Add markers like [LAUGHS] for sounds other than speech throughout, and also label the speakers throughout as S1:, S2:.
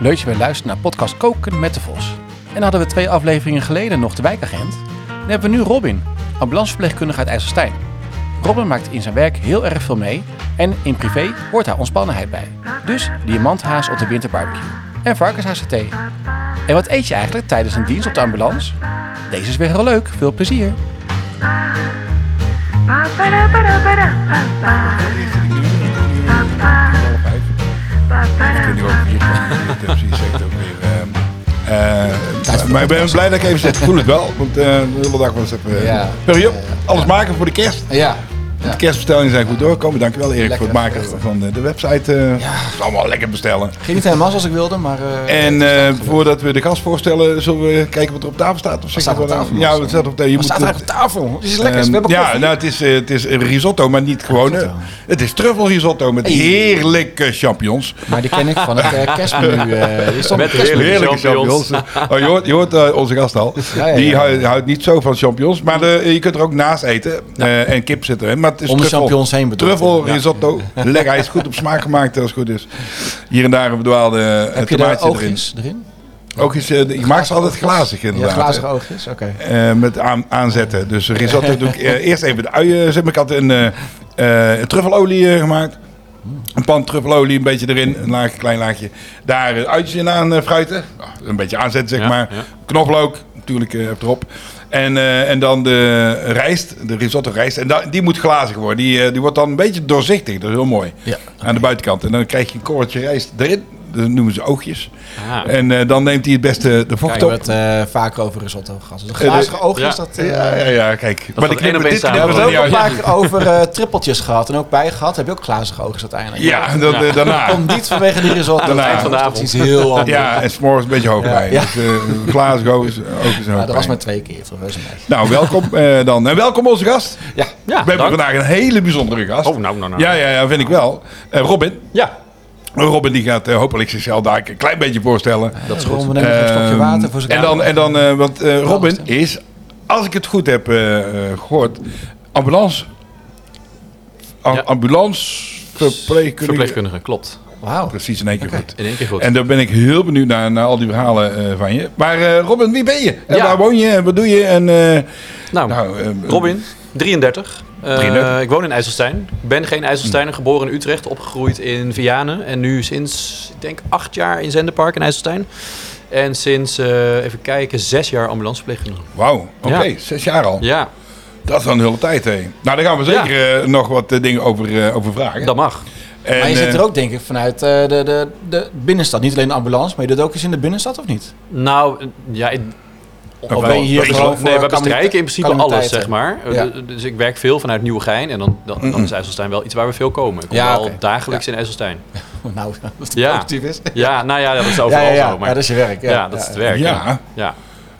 S1: Leuk dat je weer luistert naar podcast Koken met de Vos. En hadden we twee afleveringen geleden nog de wijkagent, dan hebben we nu Robin, ambulanceverpleegkundige uit IJsselstein. Robin maakt in zijn werk heel erg veel mee en in privé hoort haar ontspannenheid bij. Dus diamanthaas op de winterbarbecue en varkenshaassaté. En wat eet je eigenlijk tijdens een dienst op de ambulance? Deze is weer heel leuk, veel plezier!
S2: Ik weet niet of ik hier geprobeerd heb, precies, zegt ook weer. ehm, eh, maar ik ben blij dat ik even zeg, ik voel het wel. Want eh, de hele dag was even...
S3: Ja.
S2: Periode, alles maken voor de kerst.
S3: Ja.
S2: De kerstbestellingen zijn goed doorgekomen. Dankjewel Erik
S3: Lekker,
S2: voor het maken
S3: veel.
S2: van de, de website. eh, het is allemaal lekker bestellen.
S3: Ging niet helemaal zoals ik wilde, maar... eh,
S2: En eh, voordat we de gast voorstellen, zullen we kijken wat er op tafel staat. Of zeg
S3: staat
S2: maar
S3: op
S2: wat-
S3: tafel,
S2: Ja,
S3: Marcel?
S2: het staat op tafel. Je
S3: wat
S2: moet
S3: staat er
S2: het-
S3: eigenlijk op tafel? Het is lekker.
S2: Ehm,
S3: we hebben
S2: ja,
S3: koffie.
S2: nou, het is, eh, het is een risotto, maar niet gewoon. eh, het is truffelrisotto met heerlijke champignons.
S3: Maar die ken ik van het eh, kerstmenu. eh, is dat
S4: Met
S3: een kerstmenu?
S4: heerlijk.
S2: Heerlijke
S4: champignons.
S2: champignons. Oh, je hoort, je hoort, eh, onze gast al.
S3: Ja, ja,
S2: Die
S3: ja.
S2: hou- houdt niet zo van champignons. Maar de- je kunt er ook naast eten. Eh, en kip zit erin. Maar het is
S3: Om de
S2: truffel.
S3: champignons heen bedoeld,
S2: Truffel,
S3: ja.
S2: risotto. Lekker. Hij is goed op smaak gemaakt als het goed is. Hier en daar een bedwaalde eh,
S3: Heb je daar
S2: tomaatje erin.
S3: oogjes erin?
S2: Ook is, eh, ik maak ze altijd glazig
S3: Ja,
S2: inderdaad.
S3: glazige oogjes, oké.
S2: Eh, met aan, aanzetten. Dus
S4: [LAUGHS]
S2: risotto doe ik eh, eerst even de uien. Zet ik had een eh, eh, truffelolie eh, gemaakt. Een pan truffelolie, een beetje erin, een laagje, klein laagje. Daar eh, uitjes in aan eh, fruiten. Ah, Een beetje aanzetten, zeg
S4: Ja,
S2: maar.
S4: ja.
S2: Knoflook, natuurlijk eh, erop. En, eh, en dan de rijst, de risotto rijst. En da- die moet glazig worden. Die, eh, die wordt dan een beetje doorzichtig. Dat is heel mooi.
S3: Ja.
S2: Aan de buitenkant. En dan krijg je een korreltje rijst erin. Dat noemen ze oogjes.
S4: Ah.
S2: En eh, dan neemt hij het beste de vocht
S3: Kijk,
S2: op.
S3: we het eh, vaker over risotto gehad. Dus de glazige oogjes,
S4: ja.
S3: dat... eh,
S2: Ja, ja, ja, kijk. maar
S4: gaat
S2: de
S4: één
S2: knippen,
S4: op één
S2: dit
S4: samen.
S2: knippen
S4: Dat
S2: ze
S4: is
S2: niet
S3: We hebben
S2: uit.
S3: het ook een paar keer over eh, trippeltjes gehad en ook bij gehad. Heb je ook glazige oogjes uiteindelijk?
S2: Ja, dat, eh, daarna.
S3: Komt niet vanwege die risotto.
S2: Aan het eind
S4: van de
S3: Dat is iets heel anders.
S2: Ja, en s'morgens een beetje hoofdpijn.
S3: Ja.
S2: Dus, eh, glazen ook is ook is
S3: Maar Nou, dat was maar
S2: hoofdpijn.
S3: twee keer voor een beetje.
S2: Nou, welkom eh, dan. En welkom onze gast.
S3: Ja.
S4: Ja,
S2: We hebben
S4: dank.
S2: vandaag een hele bijzondere gast.
S4: Oh, nou, nou, nou.
S2: Ja, ja, ja, vind ik wel. Eh, Robin.
S4: Ja.
S2: Robin die gaat eh, hopelijk zichzelf daar een klein beetje voorstellen.
S3: Dat is goed. We nemen nog een stokje
S2: Ehm,
S3: water voor ze
S2: en dan, en dan eh, want eh, Robin is, als ik het goed heb eh, eh, gehoord, ambulance. am-
S4: Ja.
S2: Ambulance. Verpleegkundige.
S4: Verpleegkundige, klopt.
S3: Wauw.
S2: Precies, in één keer
S3: Oké.
S2: goed.
S4: In één keer goed.
S2: En daar ben ik heel benieuwd naar, naar al die verhalen eh, van je. Maar eh, Robin, wie ben je? En
S4: Ja.
S2: waar woon je? En wat doe je? En, eh,
S4: nou,
S2: nou, eh,
S4: Robin, 33. Eh,
S2: 33.
S4: ik woon in IJsselstein. Ik ben geen IJsselsteiner,
S3: Hm.
S4: geboren in Utrecht, opgegroeid in Vianen. En nu sinds, ik denk, acht jaar in Zenderpark in IJsselstein. En sinds, eh, even kijken, zes jaar ambulanceverpleegkundige.
S2: Wauw, oké,
S4: Ja.
S2: zes jaar al.
S4: Ja,
S2: Dat is wel een hele tijd, hé. Nou, daar gaan we zeker eh, nog wat eh, dingen over, eh, over vragen.
S4: dat mag.
S2: En,
S3: maar je zit
S2: eh,
S3: er ook, denk ik, vanuit eh, de, de, de binnenstad. Niet alleen de ambulance, maar je doet ook eens in de binnenstad, of niet? [LAUGHS]
S4: Nou, eh, ja, ik-
S2: Of ben je hier
S4: Ik-
S2: gewoon
S4: nee, we bestrijken in principe alles, zeg maar.
S3: Ja.
S4: Eh, Dus ik werk veel vanuit Nieuwegein en dan, dan, dan is IJsselstein wel iets waar we veel komen. Ik kom
S3: Ja,
S4: al
S3: oké.
S4: dagelijks in IJsselstein.
S3: maar. Nou, [LAUGHS] dat
S4: Ja.
S3: positief is.
S4: Ja, nou ja, dat is overal
S3: ja, ja.
S4: zo. Maar,
S3: Ja, dat is je werk. Ja,
S4: ja, dat is het werk.
S2: Ja.
S4: ja. ja.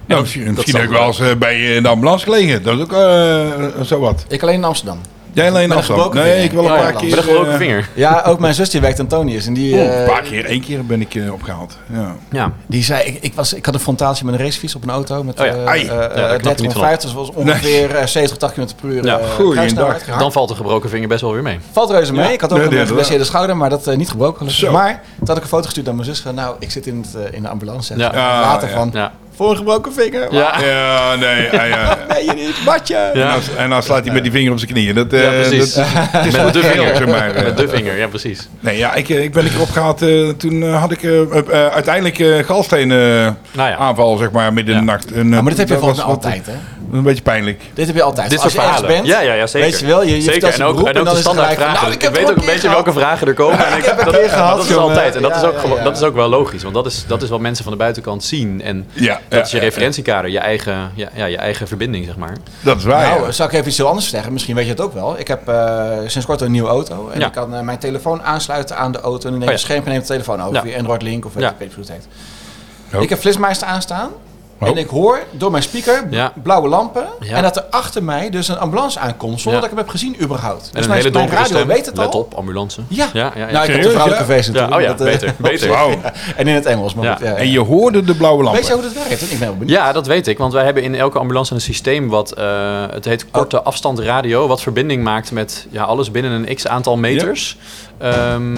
S2: nou, misschien misschien
S4: zal
S2: heb ik wel eens eh, bij eh, de ambulance gelegen. Dat is ook eh, zo wat.
S3: Ik alleen in Amsterdam.
S2: Jij alleen
S3: Met een
S2: afstand.
S3: gebroken
S2: Nee,
S3: vinger.
S2: ik wil een
S3: Oh, ja,
S2: paar
S3: dan.
S2: keer...
S4: Met een gebroken
S2: eh,
S4: vinger.
S3: Ja, ook mijn zus die werkt Antonius. En die,
S2: Oeh, een paar
S3: eh,
S2: keer, één keer ben ik eh, opgehaald. Ja.
S4: Ja.
S3: die zei, ik, ik, was, ik had een frontatie met een racefiets op een auto. Met
S4: Oh ja,
S3: eh,
S2: ai.
S3: eh,
S2: Ja, daar
S4: knap je niet van
S3: 1350, dus was ongeveer eh, 70, 80 km per uur.
S4: Ja,
S3: eh,
S2: goeie
S3: kruissnelheid
S2: dag.
S3: gehakt.
S4: Dan valt de gebroken vinger best wel weer mee.
S3: Valt reuze mee. Ik had ook
S2: Nee, die
S3: een
S2: hadden we.
S3: geblesseerde schouder, maar dat eh, niet gebroken. gelukkig.
S2: Zo.
S3: Maar toen had ik een foto gestuurd aan mijn zus. Van, nou, ik zit in, het, eh, in de ambulance.
S4: Ja.
S3: Ja.
S2: Ah,
S3: Later
S2: ja.
S3: van,
S4: Ja.
S3: voor een gebroken vinger.
S4: Ja.
S2: Ja, nee. ah, ja.
S3: [LAUGHS] Nee, je niet, badje.
S4: Ja.
S2: En, dan, en dan slaat hij met die vinger op zijn knieën. Dat, eh,
S4: Ja, precies.
S2: dat-
S4: [LAUGHS] Met de
S2: gek,
S4: vinger.
S2: zeg maar, eh.
S4: Met de vinger, ja, precies.
S2: Nee, ja, ik, eh, ik ben een keer opgehaald. eh, toen eh, had ik eh, eh, eh, uiteindelijk eh galsteen eh,
S4: Nou ja.
S2: aanval, zeg maar, midden in de
S4: Ja.
S2: nacht. En, eh,
S3: Ja, maar dit heb je
S2: dat
S3: volgens mij
S2: was wat-
S3: altijd, hè?
S2: Een beetje pijnlijk.
S3: Dit heb je altijd.
S4: Dit
S3: Als
S4: soort
S3: je ergens
S4: verhalen.
S3: bent,
S4: ja, ja, ja, zeker.
S3: weet je wel, je- je
S4: zeker.
S3: vertelt
S4: en
S3: je
S4: ook,
S3: beroep
S4: en
S3: en
S4: ook
S3: dan
S4: de
S3: is het
S4: standaard
S3: gelijk van,
S4: vragen.
S3: nou,
S4: ik
S3: ik heb
S4: weet
S3: er
S4: ook
S3: een
S4: een
S3: keer
S4: beetje welke vragen er komen. en ik,
S3: heb er
S4: dat,
S3: een keer
S4: maar
S3: gehad,
S4: dat is
S3: jongen.
S4: altijd. En dat,
S3: Ja,
S4: is ook,
S3: ja,
S4: gewoon-
S3: ja.
S4: dat is ook wel logisch. Want dat is, dat is wat mensen van de buitenkant zien. En
S2: Ja,
S4: dat
S2: ja,
S4: is je
S2: ja,
S4: referentiekader, je eigen, ja, ja, je eigen verbinding, zeg maar.
S2: Dat is
S4: Ah,
S2: waar.
S3: Nou,
S2: ja.
S3: zou ik even iets heel anders zeggen? Misschien weet je het ook wel. Ik heb eh, sinds kort een nieuwe auto. En
S4: Ja.
S3: ik kan eh, mijn telefoon aansluiten aan de auto. En dan neem
S4: Oh ja.
S3: het schermpje neemt de telefoon over.
S4: Ja.
S3: Via Android Link of weet
S4: Ja.
S3: ik weet niet hoe het heet.
S2: Oh.
S3: Ik heb Flitsmeister aanstaan.
S2: Oh.
S3: En ik hoor door mijn speaker b-
S4: Ja.
S3: blauwe lampen.
S4: Ja.
S3: En dat er achter mij dus een ambulance aankomt. Zonder
S4: Ja.
S3: dat ik hem heb gezien überhaupt. Dus
S4: En een
S3: mijn,
S4: hele
S3: mijn
S4: donkere
S3: radio
S4: stem.
S3: weet het al.
S4: Let op, ambulance.
S3: Ja.
S4: ja, ja, ja.
S3: Nou, ik heb
S2: Serieus,
S3: een vrouwelijke
S2: ja?
S3: feest
S4: Ja,
S3: natuurlijk.
S4: oh ja,
S3: dat, eh,
S4: beter, beter.
S3: [LAUGHS]
S2: Wauw.
S3: en in het Engels. Maar
S4: Ja.
S3: goed, ja, ja.
S2: En je hoorde de blauwe lamp.
S3: Weet je hoe dat werkt? Ik ben wel benieuwd.
S4: Ja, dat weet ik. Want wij hebben in elke ambulance een systeem wat eh, het
S3: Oh.
S4: heet korte afstand radio. Wat verbinding maakt met ja, alles binnen een x aantal meters. Ehm,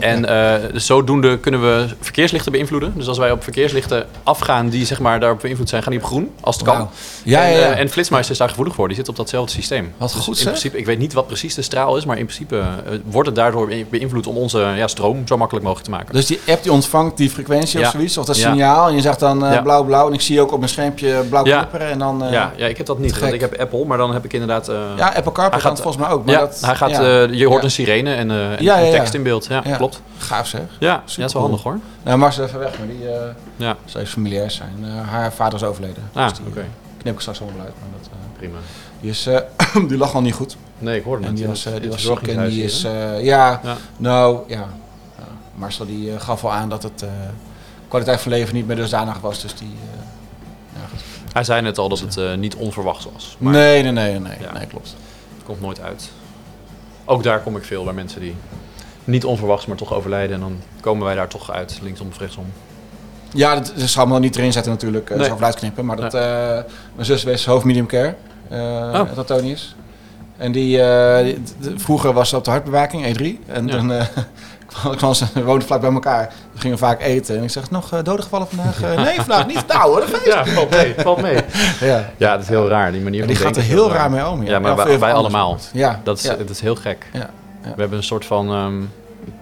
S4: En eh, dus zodoende kunnen we verkeerslichten beïnvloeden. Dus als wij op verkeerslichten afgaan die zeg maar, daarop beïnvloed zijn, gaan die op groen, als het kan.
S3: Wauw. Ja,
S4: en,
S3: ja, ja.
S4: eh, en Flitsmeister is daar gevoelig voor. Die zit op datzelfde systeem. Dus
S3: Wat goed,
S4: in
S3: zeg.
S4: principe, Ik weet niet wat precies de straal is, maar in principe eh, wordt het daardoor be- beïnvloed om onze ja, stroom zo makkelijk mogelijk te maken.
S3: Dus die app die ontvangt die frequentie
S4: Ja.
S3: of zoiets, of dat
S4: Ja.
S3: signaal. En je zegt dan eh,
S4: Ja.
S3: blauw, blauw. En ik zie ook op mijn schermpje blauw
S4: Ja.
S3: knipperen. En dan, eh,
S4: ja,
S3: ja.
S4: ja, ik heb dat niet,
S3: te
S4: want ik
S3: gek.
S4: heb Apple, maar dan heb ik inderdaad... eh,
S3: Apple CarPlay
S4: Hij
S3: kan
S4: gaat-
S3: het volgens mij ook. Maar
S4: ja,
S3: dat,
S4: hij gaat,
S3: ja.
S4: eh, je hoort
S3: Ja.
S4: een sirene en, eh, en
S3: Ja, ja, ja.
S4: tekst in beeld. Ja,
S3: Ja.
S4: klopt.
S3: Gaaf zeg.
S4: Ja, ja, dat is wel
S3: Supercool.
S4: handig hoor.
S3: Nou, Mars is even weg, maar die eh
S4: Ja,
S3: zou even familiair zijn. Eh, haar vader is overleden.
S4: ah,
S3: Dus
S4: oké,
S3: die eh, knip ik straks allemaal uit. Maar dat, eh,
S4: prima.
S3: die, is, eh, [CLEARS THROAT] die lag al niet goed.
S4: Nee, ik hoorde
S3: En
S4: het.
S3: die
S4: In
S3: was,
S4: het-
S3: eh, die
S4: in het
S3: was ziek en
S4: verzorgingshuis
S3: die
S4: hier,
S3: is...
S4: hè?
S3: eh, ja,
S4: Ja.
S3: nou ja. Ja, Marcel die eh, gaf al aan dat het eh, kwaliteit van leven niet meer dusdanig was. Dus die... eh, ja, goed.
S4: Hij zei net al dat het eh, niet onverwachts was. Maar
S3: eh, nee, nee, nee, nee,
S4: Ja.
S3: nee, klopt.
S4: het komt nooit uit. Ook daar kom ik veel bij mensen die niet onverwachts, maar toch overlijden. En dan komen wij daar toch uit, linksom of rechtsom.
S3: Ja, dat, dat zal me niet erin zetten natuurlijk, eh
S4: Nee.
S3: zelf uitknippen. Maar dat, eh, mijn zus was hoofd medium care, eh
S4: Oh.
S3: dat Tony is. En die, eh, die- d- d- vroeger was ze op de hartbewaking, E3. En
S4: Ja.
S3: dan eh, [LAUGHS] kwam, kwam ze, [LAUGHS] we woonden vlak bij elkaar. We gingen vaak eten. En ik zeg, nog eh doden gevallen vandaag? Eh, nee, vandaag niet. Nou hoor, dat vind
S4: Ja, valt mee, valt mee.
S3: ik. Ja.
S4: [LAUGHS] Ja, dat is heel raar, die manier
S3: En
S4: van
S3: die gaat er
S4: denken is
S3: heel raar mee om.
S4: Ja, maar
S3: Of
S4: wij,
S3: even
S4: wij
S3: anders.
S4: allemaal.
S3: Ja,
S4: Dat is,
S3: ja,
S4: dat is heel gek.
S3: Ja, ja.
S4: We hebben een soort van... ehm,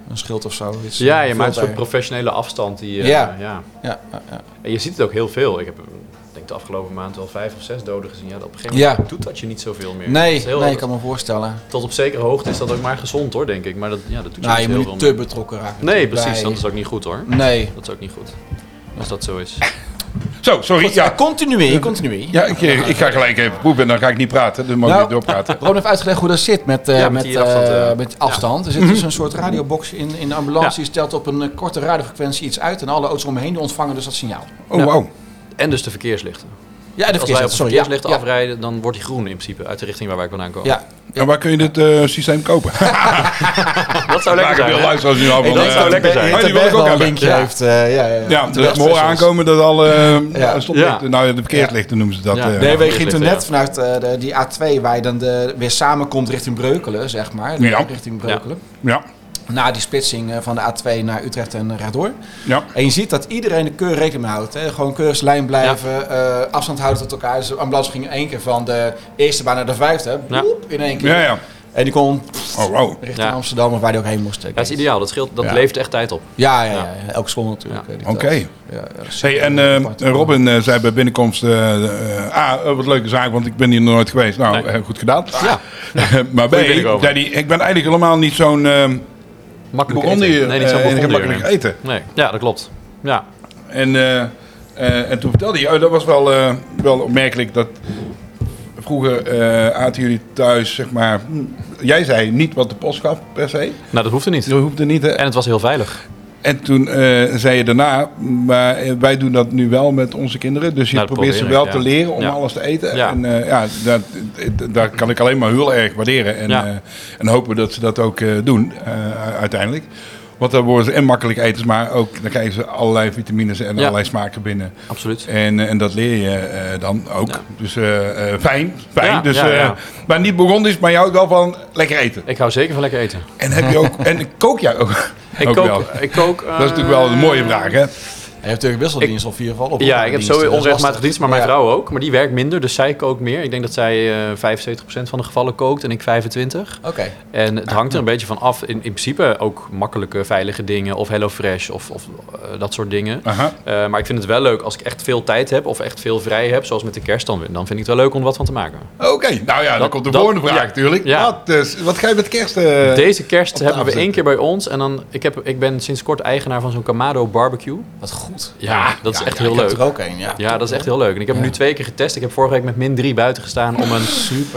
S3: een schild of zo. iets,
S4: ja,
S3: eh,
S4: je maakt een
S3: veel
S4: soort professionele afstand. Die, eh,
S3: Ja.
S4: ja.
S3: bij. Ja, ja, ja.
S4: En je ziet het ook heel veel. Ik heb eh, ik denk de afgelopen maand wel vijf of zes doden gezien. Ja, dat op een gegeven
S3: Ja.
S4: moment doet dat je niet zoveel meer. Dat is
S3: Nee,
S4: heel-
S3: nee, ik kan me voorstellen.
S4: Tot op zekere hoogte is dat ook maar gezond hoor, denk ik. Maar dat, ja, dat doet je
S3: Nou,
S4: niet
S3: je
S4: heel
S3: moet
S4: veel
S3: niet
S4: meer.
S3: te betrokken raken.
S4: Nee,
S3: natuurlijk
S4: precies.
S3: bij-
S4: Dat is ook niet goed hoor.
S3: Nee.
S4: Dat is ook niet goed. Als dat zo is.
S2: Zo, sorry.
S3: Ja,
S2: Ja,
S3: continu, continu.
S2: ja ik, eh, ik ga gelijk even poepen en dan ga ik niet praten. Dan mag je
S3: Nou. [LAUGHS]
S2: doorpraten.
S3: Ron heeft uitgelegd hoe dat zit met, eh,
S4: Ja, met
S3: met,
S4: die afstand,
S3: eh,
S4: eh.
S3: met afstand. Er zit dus een soort radiobox in, in de ambulance. Die stelt op een eh, korte radiofrequentie iets uit. En alle auto's omheen die ontvangen dus dat signaal.
S2: Oh, wauw.
S4: En dus de verkeerslichten.
S3: Ja, de
S4: Als wij op
S3: verkeerslicht.
S4: de
S3: Sorry, ja,
S4: verkeerslichten
S3: ja,
S4: afrijden, dan wordt die groen in principe. Uit de richting waar wij vandaan komen.
S3: Ja,
S2: En waar kun je dit eh, systeem kopen?
S4: [LAUGHS] Dat zou lekker
S2: ik wil
S4: zijn. hè?
S2: luisteraars nu al van...
S4: dat
S2: eh,
S4: zou lekker zijn.
S2: Oh, die wil ik ook
S3: een
S2: hebben.
S3: linkje
S4: Ja.
S3: heeft. eh, ja, ja, ja.
S2: Ja, dus we
S3: Interwebstations.
S2: horen aankomen dat al... eh
S3: Ja.
S2: stoplichten-
S4: Ja.
S2: Nou, de verkeerslichten noemen ze dat.
S4: Ja.
S2: eh.
S4: Nee.
S3: Nee, we gingen toen
S4: Ja.
S3: net vanuit eh, de, die A2, waar je dan de, weer samenkomt richting Breukelen, zeg maar.
S2: Ja.
S3: Richting Breukelen.
S2: Ja,
S3: Na die splitsing eh, van de A2 naar Utrecht en rechtdoor.
S2: ja.
S3: En je ziet dat iedereen de keur rekening mee houdt. Hè? Gewoon keurslijn blijven, eh, afstand houden tot elkaar. Dus de ambulance ging in één keer van de eerste baan naar de vijfde.
S4: Ja.
S3: Boep, in één keer.
S2: Ja, ja.
S3: En die kon
S2: Oh, wow.
S3: richting
S4: Ja.
S3: Amsterdam of waar die ook heen moest. ik
S4: Ja, dat is
S3: weet
S4: ideaal. Dat, scheelt, dat
S2: Ja.
S4: leeft echt tijd op.
S3: niet. Ja, ja, ja, ja. elke school natuurlijk.
S4: Ja.
S3: eh, die
S2: Oké.
S3: telt. Ja, ja,
S2: Hey,
S3: super
S2: en eh,
S3: apart.
S2: Robin eh, zei bij binnenkomst, eh, eh, A, eh, wat leuke zaak, want ik ben hier nog nooit geweest. Nou,
S4: Nee.
S2: eh, goed gedaan. [LAUGHS]
S4: Ja.
S2: maar B,
S4: binnenkomen.
S2: zei die, ik ben eigenlijk helemaal niet zo'n eh
S4: Makkelijk
S2: Bourgondiër.
S4: eten. Nee, niet zo
S2: eh, en ik heb
S4: Bourgondiër,
S2: makkelijk
S4: nee.
S2: eten.
S4: Nee. Ja, dat klopt. Ja.
S2: En, eh, eh, en toen vertelde hij, oh, dat was wel, eh, wel opmerkelijk, dat vroeger eh aten jullie thuis, zeg maar, hm, jij zei niet wat de post gaf per se.
S4: Nou, dat hoefde niet.
S2: Dat hoefde niet, hè?
S4: En het was heel veilig.
S2: En toen eh, zei je daarna, maar eh, wij doen dat nu wel met onze kinderen. Dus je
S4: Nou, dat
S2: probeert ze
S4: probeer
S2: wel
S4: ik,
S2: te
S4: ja.
S2: leren om
S4: Ja.
S2: alles te eten.
S4: Ja.
S2: En eh, ja, dat, dat, dat kan ik alleen maar heel erg waarderen. En,
S4: Ja.
S2: eh, en hopen dat ze dat ook eh, doen eh, u- uiteindelijk. Want dan worden ze en makkelijk eters, maar ook dan krijgen ze allerlei vitamines en
S4: Ja.
S2: allerlei smaken binnen.
S4: Absoluut.
S2: En, eh, en dat leer je eh, dan ook.
S4: Ja.
S2: Dus eh, eh, fijn, fijn.
S4: Ja,
S2: dus,
S4: ja,
S2: eh,
S4: ja.
S2: Maar niet Burgondisch, maar je houdt wel van lekker eten.
S4: Ik hou zeker van lekker eten.
S2: En, heb je ook, en kook jij ook,
S4: [LAUGHS] Ik
S2: ook
S4: kook.
S2: wel?
S4: Ik
S2: [LAUGHS]
S4: kook eh,
S2: Dat is natuurlijk wel een mooie vraag, hè?
S3: Hij heeft natuurlijk best wel
S4: Ik-
S3: dienst of in ieder geval op.
S4: Ja, ik heb
S2: dus
S4: zo
S3: diensten, dat is
S4: onrechtmatig
S3: lastig.
S4: dienst, maar mijn
S3: Ja.
S4: vrouw ook. Maar die werkt minder, dus zij kookt meer. Ik denk dat zij eh 75% van de gevallen kookt en ik 25.
S3: Oké.
S4: En het hangt er een beetje van af. In, in principe ook makkelijke, veilige dingen of HelloFresh of, of eh, dat soort dingen.
S2: Aha.
S4: Eh, maar ik vind het wel leuk als ik echt veel tijd heb of echt veel vrij heb, zoals met de kerst dan. Dan vind ik het wel leuk om er wat van te maken.
S2: Oké, nou ja, dan
S4: Dat-
S2: komt de
S4: dat-
S2: volgende vraag
S4: ja.
S2: natuurlijk.
S4: Ja.
S2: Wat, eh, wat ga je met kerst? eh,
S4: Deze kerst
S2: de
S4: hebben we
S2: avond
S4: één keer bij ons. En dan, ik, heb, ik ben sinds kort eigenaar van zo'n Kamado barbecue.
S3: Wat goed.
S4: Ja, dat is
S3: Ja,
S4: echt
S3: ja,
S4: heel
S3: ik
S4: leuk.
S3: heb er ook een, ja.
S4: Ja, dat is echt heel leuk. En ik heb hem nu twee keer getest. Ik heb vorige week met min 3 buiten gestaan om een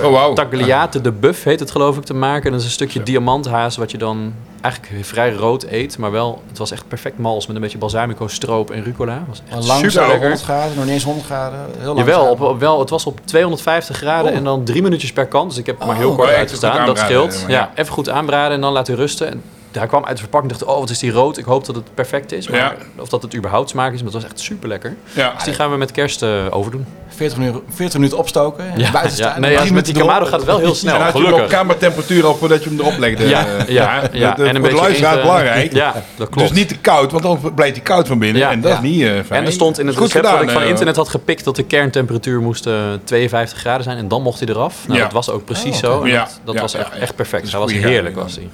S2: Oh, wauw.
S4: tagliate de buff, heet het geloof ik, te maken. En dat is een stukje diamanthaas wat je dan eigenlijk vrij rood eet. Maar wel, het was echt perfect mals met een beetje balsamico, stroop en rucola. Was echt
S3: Lang
S4: super
S3: zo,
S4: lekker.
S3: 100 graden, nog niet eens 100 graden. Heel
S4: Jawel,
S3: langzaam.
S4: op, op- wel, het was op 250 graden en dan drie minuutjes per kant. Dus ik heb maar heel
S3: Oh.
S4: kort
S2: Oh, ja, even goed
S4: uitgestaan. Dat
S2: aanbraden,
S4: scheelt.
S2: ja,
S4: Ja,
S2: maar ja.
S4: even goed aanbraden en dan laten rusten. En daar kwam uit de verpakking dacht, oh wat is die rood. Ik hoop dat het perfect is. Maar,
S2: Ja.
S4: Of dat het überhaupt smaak is, maar het was echt super lekker.
S2: Ja.
S4: Dus die gaan we met kerst eh, overdoen.
S3: 40 minuten, 40 minuten opstoken. en buiten staan.
S4: Nee, ja,
S3: Drie
S4: met die
S3: minuten
S4: Kamado
S3: door.
S4: gaat het wel
S3: [LAUGHS]
S4: heel snel,
S2: en had je hem op
S4: gelukkig.
S2: kamertemperatuur al voordat je hem erop legde. [LAUGHS]
S4: Ja,
S2: eh,
S4: ja, ja,
S2: Dat, dat-
S4: En een
S2: voor de
S4: beetje
S2: luisteraar
S4: eten.
S2: belangrijk.
S4: Ja, dat klopt.
S2: Dus niet te koud, want dan blijft hij koud van binnen.
S4: Ja.
S2: en dat is
S3: Ja.
S2: niet eh, fijn.
S4: En er stond in het
S2: Goed
S4: recept dat
S2: gedaan,
S4: ik van
S2: eh,
S4: internet had gepikt dat de kerntemperatuur moest eh, 52 graden zijn en dan mocht hij eraf. Nou,
S2: Ja.
S4: dat was ook precies
S2: Oh, oké.
S4: zo. En
S2: Ja,
S4: Dat, dat
S2: ja,
S4: was
S2: ja,
S4: echt,
S2: ja.
S4: echt perfect.
S2: is
S4: Hij was
S2: goede
S4: heerlijk,
S2: galing.
S4: was hij.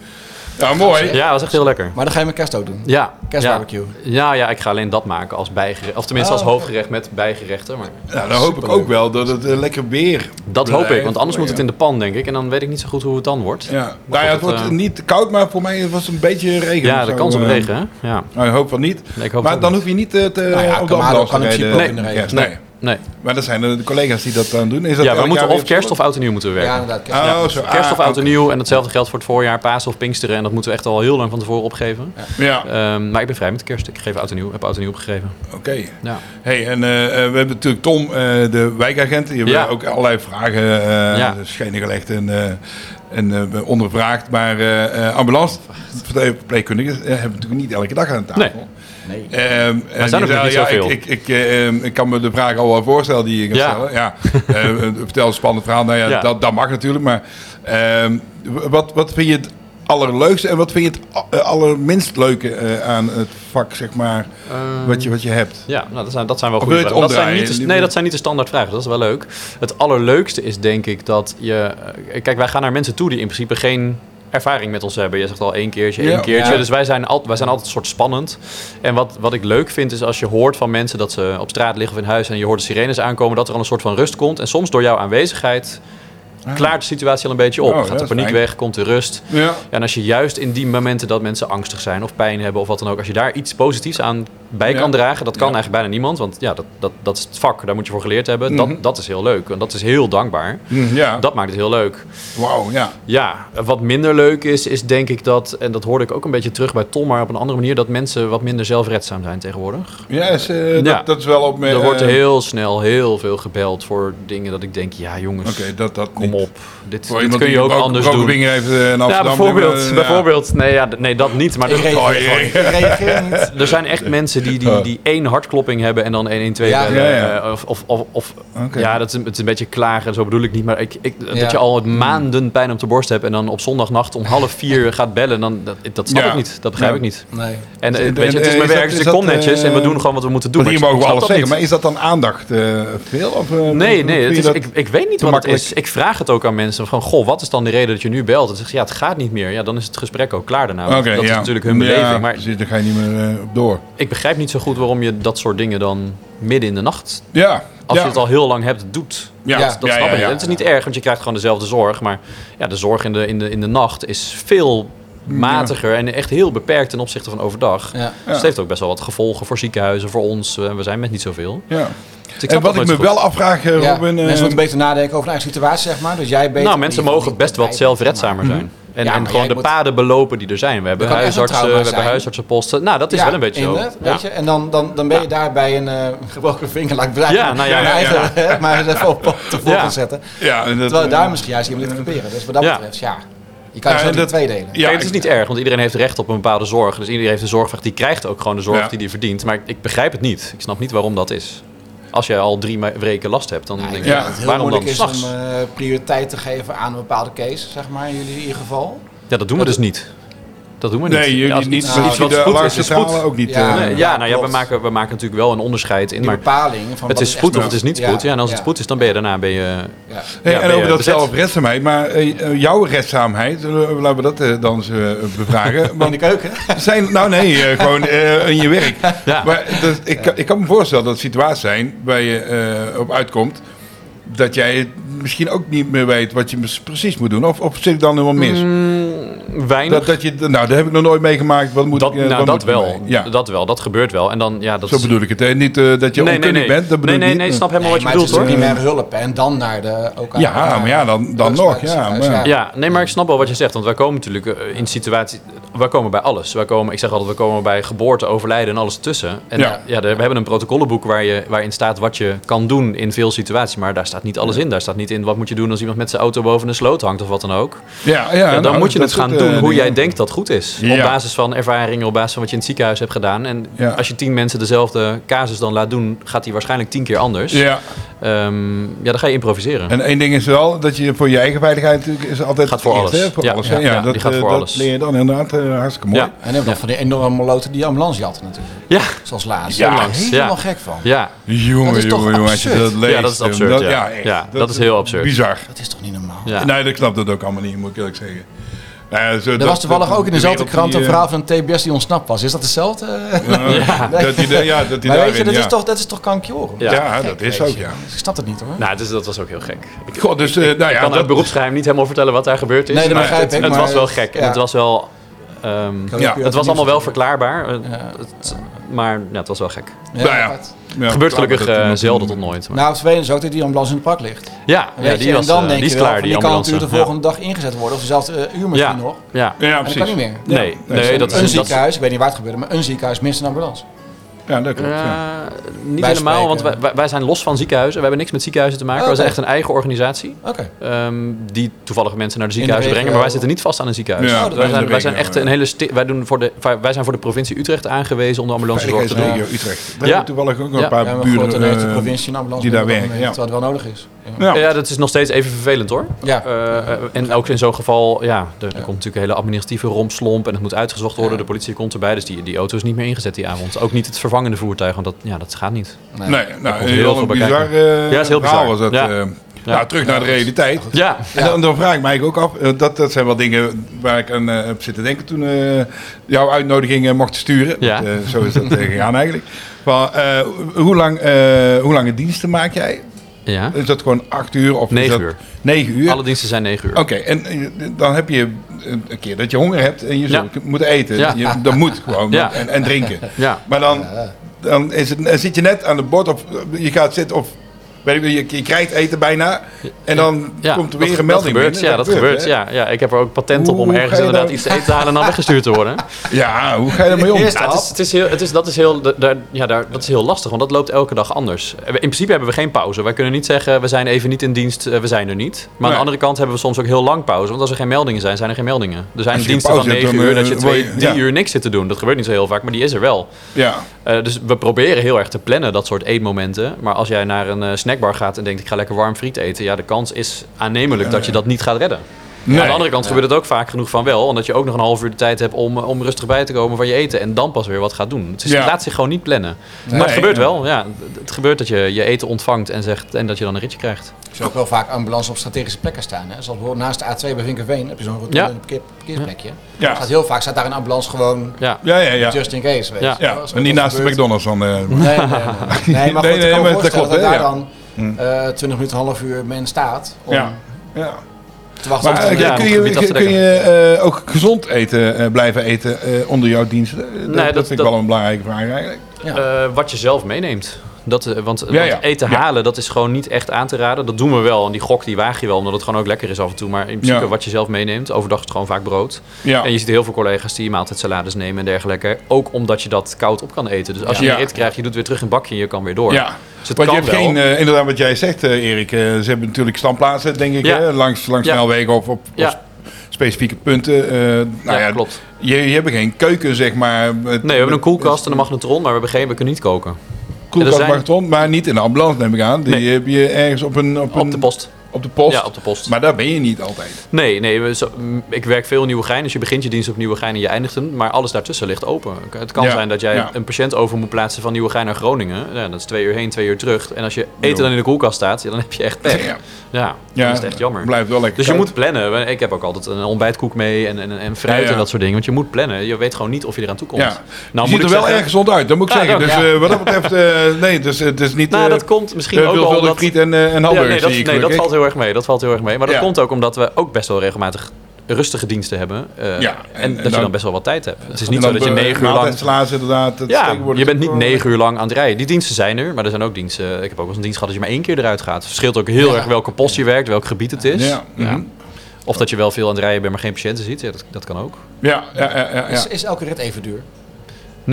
S2: Ja, nou, mooi.
S4: Ja, dat was echt heel lekker.
S3: Maar dan ga je met kerst ook doen.
S4: Ja,
S3: Kerstbarbecue.
S4: Ja, ja, ja, ik ga alleen dat maken als bijgerecht. Of tenminste als hoofdgerecht met bijgerechten. Maar
S2: Nou, dan hoop ik ook wel dat het eh, lekker weer
S4: dat hoop ik,
S2: blijft.
S4: want anders moet het in de pan, denk ik. En dan weet ik niet zo goed hoe het dan wordt. Ja,
S2: Ja, nou ja, het
S4: goed,
S2: wordt
S4: eh,
S2: niet te koud, maar voor mij was het een beetje regen.
S4: de
S2: Zo,
S4: kans op
S2: eh,
S4: regen, hè? Ja.
S2: Nou, ik hoop van niet.
S4: Nee, ik hoop
S2: maar
S4: het
S2: dan
S4: ook
S2: hoef je niet eh, te,
S3: Nou ja,
S2: op
S3: Kamado
S2: de ambulance
S3: kan
S2: te
S3: in
S2: rijden.
S3: principe ook
S2: Nee,
S3: in de regen.
S2: kerst, nee.
S4: Nee.
S2: Maar dat zijn de, de collega's die dat dan doen. Is dat
S4: Ja, we
S2: elk
S4: moeten
S2: jaar
S4: of
S2: weer
S4: kerst of oud en nieuw moeten we
S3: Ja,
S4: werken.
S3: inderdaad. Kerst.
S2: verschillend? Oh, zo. ah,
S4: Kerst of oud
S2: oké.
S4: en nieuw. En hetzelfde geldt voor het voorjaar, Pasen of Pinksteren. En dat moeten we echt al heel lang van tevoren opgeven.
S2: Ja,
S4: Ehm, maar ik ben vrij met kerst. Ik geef oud en nieuw. Heb oud en nieuw opgegeven.
S2: oké.
S4: Ja.
S2: Hey, en eh, eh, we hebben natuurlijk Tom, eh, de wijkagent. Die hebben
S4: Ja.
S2: ook allerlei vragen eh
S4: Ja.
S2: schenen gelegd en, eh, en eh, ondervraagd. Maar eh, eh, ambulance, verpleegkundigen, eh, hebben we natuurlijk niet elke dag aan tafel.
S4: Nee.
S3: Nee.
S2: Ehm, en
S4: zijn
S2: je
S4: ook nog niet
S2: ja,
S4: zoveel.
S2: Ik, ik, ik, eh, ehm, ik kan me de vraag al wel voorstellen die je gaat
S4: Ja.
S2: stellen. Ja.
S4: [LAUGHS]
S2: Eh, eh, vertel een spannend verhaal. Nou ja,
S4: Ja.
S2: Dat, dat mag natuurlijk. Maar ehm, w- wat, wat vind je het allerleukste en wat vind je het a- eh, allerminst leuke eh, aan het vak, zeg maar,
S4: Ehm.
S2: wat, je, wat je hebt?
S4: Ja, nou, dat, zijn, dat zijn wel
S2: Of
S4: goede
S2: wil je
S4: vragen.
S2: het
S4: Dat zijn niet de,
S2: omdraaien?
S4: nee, dat zijn niet de standaard vragen. Dat is wel leuk. Het allerleukste is denk ik dat je... eh, Kijk, wij gaan naar mensen toe die in principe geen ervaring met ons hebben. Je zegt al één keertje,
S2: Ja.
S4: één keertje.
S3: Ja.
S4: Dus wij zijn, al, wij zijn altijd een soort spannend. En wat, wat ik leuk vind is als je hoort van mensen dat ze op straat liggen of in huis... en je hoort de sirenes aankomen, dat er al een soort van rust komt. En soms door jouw aanwezigheid klaart de situatie al een beetje op.
S2: Ah. Oh,
S4: Gaat
S2: dat
S4: de
S2: is
S4: paniek
S2: fijn.
S4: weg, komt de rust.
S2: Ja.
S4: Ja, en als je juist in die momenten dat mensen angstig zijn of pijn hebben of wat dan ook, als je daar iets positiefs aan bij
S2: Ja.
S4: kan dragen, dat kan
S2: Ja.
S4: eigenlijk bijna niemand. Want ja, dat, dat, dat is het vak, daar moet je voor geleerd hebben.
S2: Mhm.
S4: Dat, dat is heel leuk en dat is heel dankbaar.
S2: Hm, ja.
S4: Dat maakt het heel leuk.
S2: Wauw, ja.
S4: Ja, wat minder leuk is, is denk ik dat, en dat hoorde ik ook een beetje terug bij Tom, maar op een andere manier, dat mensen wat minder zelfredzaam zijn tegenwoordig.
S2: Ja, is, eh,
S4: Ja.
S2: Dat, dat is wel op...
S4: er wordt
S2: eh,
S4: heel snel heel veel gebeld voor dingen dat ik denk, ja jongens,
S2: Oké, dat, dat
S4: kom
S2: niet.
S4: op. Dit,
S2: Voor
S4: dit
S2: iemand
S4: kun
S2: die
S4: je ook
S2: Bro-
S4: anders
S2: Bro-
S4: doen.
S2: Binger heeft, eh, in
S4: Ja,
S2: Amsterdam,
S4: bijvoorbeeld.
S2: eh, ja.
S4: bijvoorbeeld. Nee, ja, d- nee, dat niet. Maar
S3: Ik
S4: er-
S3: reageer
S2: Oh,
S3: gewoon.
S2: jee.
S3: Ik
S2: [LAUGHS]
S3: reageer niet.
S4: Er zijn echt mensen die, die, die één hartklopping hebben en dan 112
S3: Ja,
S4: bellen.
S2: ja, ja.
S4: Eh, Of, of, of, of-
S2: Oké.
S4: ja, dat is, een- het is een beetje klagen, zo bedoel ik niet. Maar ik, ik,
S3: Ja.
S4: dat je al
S2: Mm.
S4: maanden pijn op de borst hebt en dan op zondagnacht om half
S2: [LAUGHS]
S4: vier gaat bellen, dan, dat, dat snap
S2: Ja.
S4: ik niet. Dat begrijp
S2: Ja.
S4: ik niet.
S3: Nee.
S4: En eh,
S2: en-
S4: weet je, het
S2: en
S4: is mijn
S2: is
S4: werk,
S2: dat-
S4: dus ik
S2: is
S4: kom
S2: dat,
S4: netjes en we
S2: eh,
S4: doen gewoon wat we moeten doen.
S2: Want hier
S4: Maar ik
S2: mogen we
S4: snap
S2: alles
S4: dat
S2: zeggen. Maar
S4: niet.
S2: is dat dan aandacht eh, veel? Of, eh,
S4: Nee,
S2: vind je
S4: nee, het is,
S2: dat-
S4: ik, ik weet niet
S2: te
S4: wat het
S2: makkelijk?
S4: is. Ik vraag het ook aan mensen. Van, goh, wat is dan de reden dat je nu belt? En ze zeggen, ja, het gaat niet meer. Ja, dan is het gesprek ook klaar daarna. Want
S2: Oké,
S4: dat
S2: ja.
S4: is natuurlijk hun
S2: Ja,
S4: beleving. maar
S2: precies, daar ga je niet meer eh, op door.
S4: ik begrijp niet zo goed waarom je dat soort dingen dan midden in de nacht,
S2: Ja.
S4: als
S2: ja.
S4: je het al heel lang hebt, doet.
S2: Ja,
S3: Ja,
S4: Dat snap ik. En Het is niet erg, want je krijgt gewoon dezelfde zorg. Maar ja, de zorg in de, in de, in de nacht is veel matiger en echt heel beperkt ten opzichte van overdag.
S3: Ja.
S4: Dus het heeft ook best wel wat gevolgen voor ziekenhuizen, voor ons. Eh, We zijn met niet zoveel.
S2: Ja.
S4: Dus
S2: En
S4: ik snap dat
S2: wat ik me
S4: nooit zo
S2: wel
S4: goed.
S2: afvraag, eh,
S3: Ja,
S2: Robin... eh,
S3: mensen moeten beter nadenken over hun eigen situatie, zeg maar. Dus jij beter...
S4: Nou, mensen
S3: in ieder
S4: mogen
S3: geval
S4: best wat
S3: niet begrijpen,
S4: zelfredzamer zijn. En,
S3: Ja,
S4: en
S3: maar
S4: gewoon
S3: jij
S4: de
S3: moet-
S4: paden belopen die er zijn. We hebben
S3: kan echt een
S4: huisartsen, we
S3: trauma
S4: hebben
S3: zijn.
S4: huisartsenposten. Nou, dat is
S3: Ja,
S4: wel een beetje zo.
S3: inderdaad, Weet
S4: Ja.
S3: je? En dan, dan, dan ben je daar bij een eh, gebroken vinger, laat ik het
S4: Ja, nou ja,
S3: mijn
S4: ja,
S3: eigen, hè, maar eens even op te voor
S4: Ja.
S3: gaan zetten.
S2: ja, en dat,
S3: Terwijl je
S2: eh,
S3: daar misschien juist iemand in moet proberen. Dus wat dat
S4: Ja.
S3: betreft, ja. Je kan
S2: Ja,
S3: het
S2: en
S3: zo in
S2: dat-
S3: twee delen.
S2: Ja,
S4: Kijk, het is niet erg, want iedereen heeft recht op een bepaalde zorg. Dus iedereen heeft een zorgvraag, die krijgt ook gewoon de zorg
S2: Ja.
S4: die die verdient. Maar ik, ik begrijp het niet. Ik snap niet waarom dat is. Als jij al drie me- weken last hebt, dan
S3: ik
S4: denk
S3: denk
S4: je,
S2: Ja.
S3: dat het heel
S4: waarom dan
S3: moeilijk
S4: s'nachts?
S3: is om eh, prioriteit te geven aan een bepaalde case, zeg maar, in jullie in ieder geval.
S4: ja, dat doen we dus niet. Dat doen we niet.
S2: Nee, jullie
S4: Ja, als
S2: niet.
S4: iets,
S2: maar
S4: iets
S2: die
S4: wat
S2: de
S4: goed is, is
S2: alarmcentrale
S4: spoed.
S2: ook niet.
S3: Ja.
S2: eh,
S4: Nee, ja, nou ja, we
S3: klopt.
S4: maken, we maken natuurlijk wel een onderscheid in,
S3: Die
S4: maar
S3: bepaling van
S4: het
S3: wat
S4: is spoed of
S3: echt
S4: het is niet
S3: Ja,
S4: spoed. Ja, en als het
S3: ja,
S4: spoed is, dan ben je daarna ben je...
S3: ja.
S2: Hey,
S4: Ja, ben
S2: en
S4: je
S2: over dat
S4: bezet?
S2: zelfredzaamheid, maar eh, jouw redzaamheid, eh, laten we dat eh, dan eens eh,
S4: [LAUGHS]
S2: bevragen.
S3: In
S2: Want
S3: de keuken.
S2: zijn, nou nee, eh, gewoon eh, in je werk.
S4: Ja.
S2: Maar dat, ik, kan- ik kan me voorstellen dat situaties zijn waar je eh, op uitkomt, dat jij misschien ook niet meer weet wat je mis- precies moet doen. Of, of zit ik dan helemaal mis?
S4: Mm, Weinig.
S2: Mm, dat, dat je, nou, dat heb ik nog nooit meegemaakt. Wat moet
S4: dat,
S2: ik, eh,
S4: nou,
S2: wat
S4: dat
S2: moet ik
S4: wel.
S2: mee? Ja,
S4: Dat wel. Dat gebeurt wel. En dan, ja, dat
S2: zo
S4: is-
S2: bedoel ik het. Hè? Niet eh, dat je
S4: nee, nee,
S2: onkundig
S4: nee.
S2: bent, dat bedoel
S4: nee,
S2: ik
S4: nee,
S2: niet.
S4: nee, snap helemaal
S3: Nee,
S4: wat
S3: maar
S4: je
S3: het is
S4: bedoelt, hoor.
S3: natuurlijk primaire hulp hè, en dan naar de... Ook aan-
S2: Ja, maar ja, dan- dan
S3: huis-
S2: nog,
S3: huis-
S2: ja,
S3: huis-
S2: maar-
S4: Ja, nee, maar ik snap wel wat je zegt. Want wij komen natuurlijk eh, in situatie... Wij komen bij alles. Wij komen, ik zeg altijd, we komen bij geboorte, overlijden en alles tussen. En eh,
S2: Ja.
S4: ja. de- we hebben een protocollenboek waar je, waarin staat wat je kan doen in veel situaties. Maar daar staat niet alles in. Daar staat niet in wat moet je doen als iemand met zijn auto boven een sloot hangt of wat dan ook.
S2: Ja, ja,
S4: Ja, dan
S2: nou,
S4: moet je
S2: dat
S4: het gaan
S2: soort, eh,
S4: doen hoe
S2: dingen.
S4: jij denkt dat goed is. Op
S2: Ja.
S4: basis van ervaringen, op basis van wat je in het ziekenhuis hebt gedaan. En
S2: Ja.
S4: als je tien mensen dezelfde casus dan laat doen, gaat die waarschijnlijk tien keer anders.
S2: Ja,
S4: Ehm, ja dan ga je improviseren.
S2: en één ding is wel dat je voor je eigen veiligheid natuurlijk is altijd
S4: Gaat voor
S2: het eerst,
S4: alles.
S2: hè, voor
S4: Ja,
S2: alles.
S4: ja,
S2: hè. Ja,
S4: ja,
S2: dat,
S4: die gaat
S2: eh,
S4: voor
S2: dat
S4: alles.
S2: leer je dan inderdaad eh, hartstikke mooi.
S4: Ja.
S3: En ook nog van die enorme loten die ambulance had natuurlijk.
S4: Ja.
S3: Zoals laatst.
S2: Ja.
S3: Daar ben ik
S4: Ja.
S3: helemaal gek van.
S4: Ja.
S2: Jongen,
S3: Dat is toch
S2: jongen, jongen, als je
S3: absurd?
S2: dat leest.
S4: dat is
S2: eh,
S4: absurd, ja.
S2: echt,
S4: Ja, dat is heel absurd.
S2: Bizar.
S3: Dat is toch niet normaal?
S4: ja.
S2: Nee, dat snapt dat ook allemaal niet, moet ik eerlijk zeggen. Nou, ja, zo,
S3: Er was toevallig ook in dezelfde krant een verhaal
S2: vraag.
S3: van een TBS die ontsnapt was. Is dat hetzelfde?
S2: eh,
S3: [LAUGHS]
S2: [LAUGHS] Ja, dat die, de- ja, dat die
S3: maar
S2: daarin,
S3: weet je, dat,
S2: ja.
S3: is toch, dat is toch kankjoren?
S4: Ja.
S2: Ja,
S3: Gek,
S2: dat is
S3: weet
S2: ook,
S3: je.
S2: ja.
S3: Ik snap het niet hoor.
S4: Nou, dus, dat was ook heel gek. Ik,
S2: God, dus, eh, nou ja,
S4: kan uit
S2: dat,
S4: beroepsgeheim niet helemaal vertellen wat daar gebeurd is.
S3: Nee, dat
S4: maar
S3: begrijp
S4: het,
S3: ik,
S4: het
S3: maar
S4: was wel
S3: het-
S4: gek. En
S3: ja.
S4: het was wel... ehm,
S3: Kan
S2: Ja.
S3: ook weer
S4: het was
S3: opnieuw
S4: allemaal wel
S3: zeggen.
S4: verklaarbaar. eh, het- maar ja, het was wel gek.
S2: Nou ja.
S3: apart.
S2: ja,
S4: Gebeurt
S2: laten we
S4: gelukkig
S2: dat
S4: eh,
S2: doen.
S4: zelden tot nooit. maar-
S3: Nou, het tweede is ook dat die ambulance in het pak ligt.
S4: ja, ja,
S3: Weet je,
S4: die, was,
S3: en dan
S4: eh,
S3: denk
S4: die is
S3: je wel,
S4: klaar,
S3: van,
S4: die
S3: kan
S4: ambulance.
S3: natuurlijk de volgende dag ingezet worden. Of dezelfde eh, uur misschien
S4: ja.
S3: nog. En
S4: Ja. ja.
S2: Ja,
S3: dat
S2: precies.
S3: kan niet meer.
S4: Nee, nee,
S2: precies.
S4: dat
S3: een
S4: is... Dat,
S3: ziekenhuis, ik weet niet waar het gebeurde, maar een ziekenhuis mist een ambulance.
S2: Ja, dat klopt. ja.
S4: Eh, niet
S3: Wij
S4: helemaal, want wij,
S3: spreken-
S4: wij- wij zijn los van ziekenhuizen. We hebben niks met ziekenhuizen te maken.
S3: Oh,
S4: We zijn echt
S3: oké.
S4: een eigen organisatie.
S3: Oké.
S4: ehm, die toevallig mensen naar de
S3: de regio.
S4: ziekenhuizen brengen. Maar wij zitten niet vast aan een ziekenhuis.
S2: Ja,
S4: Wij
S2: dat is de
S4: zijn- wij
S2: regio,
S4: zijn echt
S2: ja.
S4: een hele... sti- Wij, doen voor de, wij zijn voor de provincie Utrecht aangewezen om de ambulancezorg te doen.
S2: Veiligheidsregio Utrecht. Daar
S4: Ja.
S2: hebben we toevallig ook
S4: Ja.
S2: een paar
S3: Ja, maar goed, dan
S2: buren.
S3: heeft de
S2: eh,
S3: provincie een ambulance
S2: die daar
S3: nodig op het
S2: werken,
S3: moment, Terwijl het wel nodig is.
S2: ja.
S4: Ja, dat is nog steeds even vervelend hoor.
S3: Ja.
S4: Eh, eh, en ook in zo'n geval, ja, er, er komt natuurlijk een hele administratieve rompslomp en het moet uitgezocht worden. De politie komt erbij, dus die, die auto is niet meer ingezet die avond. Ook niet het vervangende voertuig, want dat, ja, dat gaat niet.
S2: Nee, nou,
S4: komt heel
S2: heel
S4: veel
S2: een
S4: bij
S2: bizar
S4: kijken.
S2: eh,
S4: Ja, het is heel
S2: verhaal was
S4: bizar.
S2: dat.
S4: Ja.
S2: eh.
S4: Ja.
S2: Nou, terug naar de realiteit.
S4: Ja,
S2: En dan, dan vraag ik mij ook af, eh, dat, dat zijn wel dingen waar ik aan eh, heb zitten denken toen eh, jouw uitnodiging eh, mocht sturen.
S4: Ja.
S2: Want, eh, zo is dat eh, gegaan eigenlijk. Van, eh, hoe, lang, eh, hoe lange diensten maak jij?
S4: ja.
S2: Is dat gewoon acht uur? Of is
S4: Negen
S2: dat
S4: uur.
S2: Negen uur?
S4: alle diensten zijn negen uur.
S2: Oké, en eh, dan heb je een een keer dat je honger hebt en je
S4: Ja.
S2: zult moeten eten.
S4: Ja.
S2: Je, dat moet gewoon.
S4: [LAUGHS] Ja.
S2: En, en drinken.
S4: Ja.
S2: Maar dan, dan, is het, dan zit je net aan het bord of eh, je gaat zitten of weet ik, niet, je, je krijgt eten bijna. En dan
S4: Ja,
S2: komt er
S4: dat-
S2: weer een melding
S4: dat gebeurt,
S2: binnen.
S4: Ja, dat gebeurt.
S2: hè?
S4: Ja, ja, ik heb er ook patent op om
S2: Hoe ga
S4: ergens
S2: je
S4: inderdaad
S2: daar-
S4: iets te eten te
S2: [LAUGHS]
S4: halen en dan weggestuurd te worden.
S2: Ja, hoe ga je daarmee om?
S3: Eerst-
S4: Ja, het is, het is heel, het is, dat, is heel, da- daar, ja, daar, dat is heel lastig, want dat loopt elke dag anders. In principe hebben we geen pauze. Wij kunnen niet zeggen, we zijn even niet in dienst, eh, we zijn er niet. Maar aan
S2: Nee.
S4: de andere kant hebben we soms ook heel lang pauze. Want als er geen meldingen zijn, zijn er geen meldingen. Er zijn
S2: Als je
S4: diensten van
S2: pauze hebt,
S4: 9
S2: dan,
S4: uur dat
S2: eh,
S4: je twee,
S2: word je-
S4: drie
S2: ja.
S4: uur niks zit te doen. Dat gebeurt niet zo heel vaak, maar die is er wel.
S2: Ja,
S4: Eh, dus we proberen heel erg te plannen, dat soort eetmomenten. Maar als jij naar een eh, snackbar gaat en denkt, ik ga lekker warm friet eten. Ja, de kans is aannemelijk dat je dat niet gaat redden.
S2: nee.
S4: Aan de andere kant gebeurt het ook vaak genoeg van wel. Omdat je ook nog een half uur de tijd hebt om, eh, om rustig bij te komen van je eten. En dan pas weer wat gaat doen. Het, is,
S2: Ja.
S4: het laat zich gewoon niet plannen. maar het gebeurt wel. Ja, het- het gebeurt dat je je eten ontvangt en, zegt, en dat je dan een ritje krijgt.
S3: Er zijn ook wel vaak ambulance op strategische plekken staan. Hè. Zoals bijvoorbeeld naast de A2 bij Vinkerveen heb je zo'n rotonde
S4: Ja.
S3: en een parkeer- parkeerplekje.
S2: Ja.
S3: Staat heel vaak staat daar een ambulance gewoon
S4: Ja.
S2: Ja, ja, ja.
S3: just in case. Weet
S4: Ja.
S3: je.
S2: ja.
S3: Als er wat
S2: En niet naast de
S3: gebeurt.
S2: McDonald's dan. eh,
S3: Nee, nee, nee.
S2: [LAUGHS]
S3: nee. maar goed, ik
S2: Nee, nee,
S3: kan
S2: maar
S3: me
S2: dat
S3: voorstellen
S2: klopt,
S3: dat
S2: hè,
S3: daar
S2: ja. Hm.
S3: dan eh 20 minuten, een half uur men staat om
S2: ja. ja.
S3: te wachten.
S2: Maar
S3: Maar,
S2: eh,
S4: ja,
S2: kun
S4: om het gebied af
S2: je,
S4: te
S2: kun je eh, ook gezond eten eh, blijven eten eh, onder jouw diensten? Eh, Dat,
S4: Nee,
S2: dat
S4: dat-
S2: vind ik
S4: dat-
S2: wel een belangrijke vraag eigenlijk.
S4: Eh, wat je zelf meeneemt. Dat, eh, want,
S2: Ja,
S4: want
S2: ja.
S4: eten
S2: Ja.
S4: halen, dat is gewoon niet echt aan te raden. Dat doen we wel. En die gok, die waag je wel, omdat het gewoon ook lekker is af en toe. Maar in principe
S2: Ja.
S4: wat je zelf meeneemt. Overdag is het gewoon vaak brood.
S2: Ja.
S4: En je ziet heel veel collega's die maaltijdsalades nemen en dergelijke. Ook omdat je dat koud op kan eten. Dus als je
S2: Ja.
S4: een rit krijgt, je doet weer terug in het bakje en je kan weer door.
S2: Ja,
S4: Dus het
S2: want je
S4: kan
S2: hebt
S4: wel.
S2: geen, eh, inderdaad wat jij zegt eh, Erik, eh, ze hebben natuurlijk standplaatsen denk ik,
S4: Ja.
S2: hè, langs, langs
S4: Ja.
S2: snelwegen of op
S4: Ja.
S2: op specifieke punten. eh, nou ja,
S4: ja, klopt.
S2: Je, je hebt geen keuken zeg maar. met-
S4: Nee, we hebben een
S2: met-
S4: koelkast en een magnetron, maar we, hebben geen, we kunnen niet koken.
S2: Koelkast,
S4: Er zijn-
S2: magnetron, maar niet in de ambulance neem ik aan. Die
S4: Nee.
S2: heb je ergens op een... Op,
S4: Op
S2: een-
S4: de post.
S2: Op de post.
S4: Ja, op de post.
S2: Maar daar ben je niet altijd.
S4: Nee, nee we, zo- m, ik werk veel in Nieuwegein. Dus je begint je dienst op Nieuwegein en je eindigt hem. Maar alles daartussen ligt open. K- Het kan
S2: Ja,
S4: zijn dat jij
S2: ja.
S4: een patiënt over moet plaatsen van Nieuwegein naar Groningen. Ja, dat is twee uur heen, twee uur terug. En als je eten
S2: Jo.
S4: dan in de koelkast staat, ja, dan heb je
S2: [LAUGHS]
S4: echt pech.
S2: Ja.
S4: Ja, dat is echt jammer.
S2: Blijft wel lekker
S4: Dus je
S2: koud.
S4: moet plannen. Ik heb ook altijd een ontbijtkoek mee en, en, en fruit
S2: Ja, ja.
S4: en dat soort dingen. Want je moet plannen. Je weet gewoon niet of je eraan toe komt.
S2: Ja. Nou, je ziet er wel erg gezond uit, dat moet ik
S4: Ja,
S2: zeggen.
S4: dank.
S2: Dus
S4: Ja.
S2: eh, wat dat betreft, eh, nee, dus, het is niet...
S4: Nou,
S2: eh,
S4: dat komt misschien
S2: eh,
S4: ook wel
S2: veelvuldig
S4: omdat...
S2: friet en, eh en
S4: Ja,
S2: hamburger
S4: nee,
S2: zie
S4: dat,
S2: ik
S4: nee, dat
S2: gelukkig.
S4: valt heel erg mee. Dat valt heel erg mee. Maar dat
S2: Ja.
S4: komt ook omdat we ook best wel regelmatig rustige diensten hebben. eh,
S2: Ja, en-
S4: en,
S2: en
S4: dat je
S2: dan-
S4: dan best wel wat tijd hebt. Het is
S2: En
S4: niet
S2: dan
S4: zo dat je
S2: be-
S4: negen uur lang...
S2: maaltijdsala's inderdaad. dat
S4: Ja,
S2: tegenwoordig
S4: je bent niet
S2: wel-
S4: negen uur lang aan het rijden. Die diensten zijn er, maar er zijn ook diensten... Ik heb ook wel eens een dienst gehad dat je maar één keer eruit gaat. Het verschilt ook heel
S3: Ja.
S4: erg welke post je werkt, welk gebied het is.
S2: Ja, mhm.
S4: Of dat je wel veel aan het rijden bent, maar geen patiënten ziet. Ja, dat, dat kan ook.
S2: Ja, ja, ja, ja, ja.
S3: is, is elke rit even duur?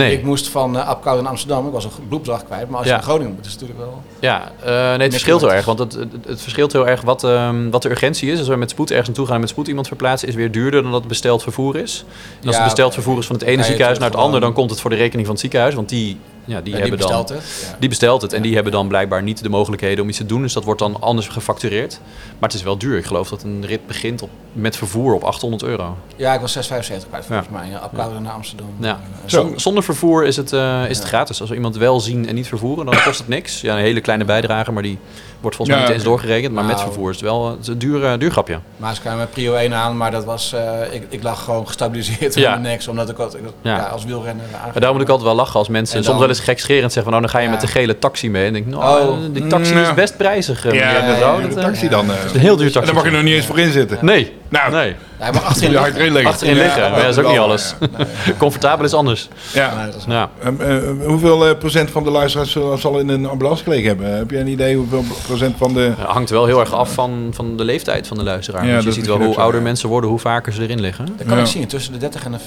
S4: Nee.
S3: Ik moest van eh Apeldoorn naar Amsterdam, ik was een bloedbedrag kwijt. Maar als je
S4: Ja.
S3: naar Groningen moet, is het natuurlijk wel...
S4: Ja, eh, nee, het verschilt heel erg. Want het, het, het verschilt heel erg wat, ehm, wat de urgentie is. Als we met spoed ergens naartoe gaan en met spoed iemand verplaatsen, is weer duurder dan dat het besteld vervoer is. En als
S3: Ja,
S4: het besteld vervoer is van het
S3: ga
S4: ene
S3: je
S4: ziekenhuis
S3: toch
S4: naar het andere,
S3: gewoon-
S4: dan komt het voor de rekening van het ziekenhuis. Want die, ja, die
S3: Ja,
S4: hebben dan.
S3: bestelt het. Ja.
S4: Die bestelt het en die hebben dan blijkbaar niet de mogelijkheden om iets te doen. Dus dat wordt dan anders gefactureerd. Maar het is wel duur. Ik geloof dat een rit begint op, met vervoer op 800 euro.
S3: Ja, ik was 6,75 kwijt volgens mij. Ja, Apeldoorn naar Amsterdam.
S4: Ja.
S3: Eh,
S2: Zo.
S4: Zon- zonder vervoer is het, eh, is het gratis. Als we iemand wel zien en niet vervoeren, dan kost het niks. Ja, een hele kleine bijdrage, maar die wordt volgens mij
S2: Ja.
S4: niet eens doorgerekend. Maar met
S3: Nou.
S4: vervoer is het wel eh, het is een duur, eh, duur grapje.
S3: Maar ze kwamen met prio 1 aan, maar dat was, eh, ik, ik lag gewoon gestabiliseerd [LAUGHS]
S4: Ja.
S3: aan de niks. Omdat ik, wat- ik- ja.
S4: Ja.
S3: als wielrenner eh, aangekomen.
S4: En daar moet ik altijd wel lachen als mensen
S3: En
S4: soms
S3: dan-
S4: wel eens gekscherend zeggen van... nou, dan ga je
S3: Ja.
S4: met de gele taxi mee. En ik denk, nou,
S3: Oh.
S4: eh, die taxi
S2: Ja.
S4: is best prijzig. eh,
S2: Ja,
S4: meneer
S2: dat
S4: de
S2: is
S4: Roo.
S2: een
S4: Dat,
S2: dure
S4: eh,
S2: taxi dan. eh.
S4: is een heel duur
S2: En
S4: taxi.
S2: daar mag je nog niet eens voor in zitten.
S4: Nee,
S2: Nou,
S4: nee.
S3: Ja, maar
S4: [LAUGHS]
S3: achterin
S2: je
S3: ligt-
S2: hard erin liggen.
S4: Achterin liggen, maar ja, dat is ook niet alles. [LAUGHS] Comfortabel is anders.
S2: Ja.
S3: Nee, dat is-
S4: Ja.
S2: Ehm, eh, hoeveel eh, procent van de luisteraars zal- zal in een ambulance gelegen hebben? Heb je een idee hoeveel procent van de...
S4: Het hangt wel heel erg af van, van de leeftijd van de luisteraar.
S2: Ja,
S4: Want je
S2: dat
S4: ziet
S2: is
S4: wel
S2: misschien
S4: hoe
S2: ook zo,
S4: ouder
S2: ja.
S4: mensen worden, hoe vaker ze erin liggen.
S3: Dat kan
S2: Ja.
S3: ik zien, tussen de 30 en de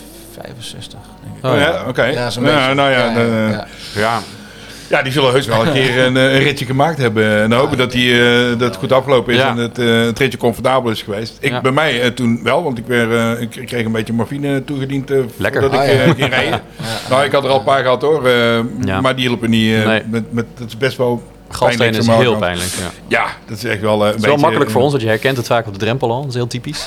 S3: 65. Denk ik.
S4: Oh,
S2: Oh,
S4: ja.
S2: ja, oké.
S3: Ja, zo'n
S2: nou,
S3: beetje.
S2: nou ja, dan, eh, ja.
S3: ja.
S4: Ja,
S2: die zullen heus wel een keer een, eh, een ritje gemaakt hebben. En dan hopen dat, die, eh, dat het goed afgelopen is
S4: Ja.
S2: en het, eh, het ritje comfortabel is geweest. Ik,
S4: Ja.
S2: Bij mij eh, toen wel, want ik, weer, eh, ik ik kreeg een beetje morfine toegediend eh
S4: Lekker.
S2: voordat
S3: Ah,
S2: ik eh,
S3: ja.
S2: ging rijden. Nou, ik had er al een paar gehad hoor, eh,
S4: Ja.
S2: maar die hielpen niet. eh,
S4: Nee.
S2: met, met, het is best wel
S4: galsteen
S2: pijnlijk,
S4: is
S2: zeg maar.
S4: heel pijnlijk. Ja.
S2: Ja, dat is echt wel eh, een
S4: Het is wel makkelijk voor ons, want je herkent het vaak op de drempel al. Dat is heel
S3: [LAUGHS]
S4: typisch.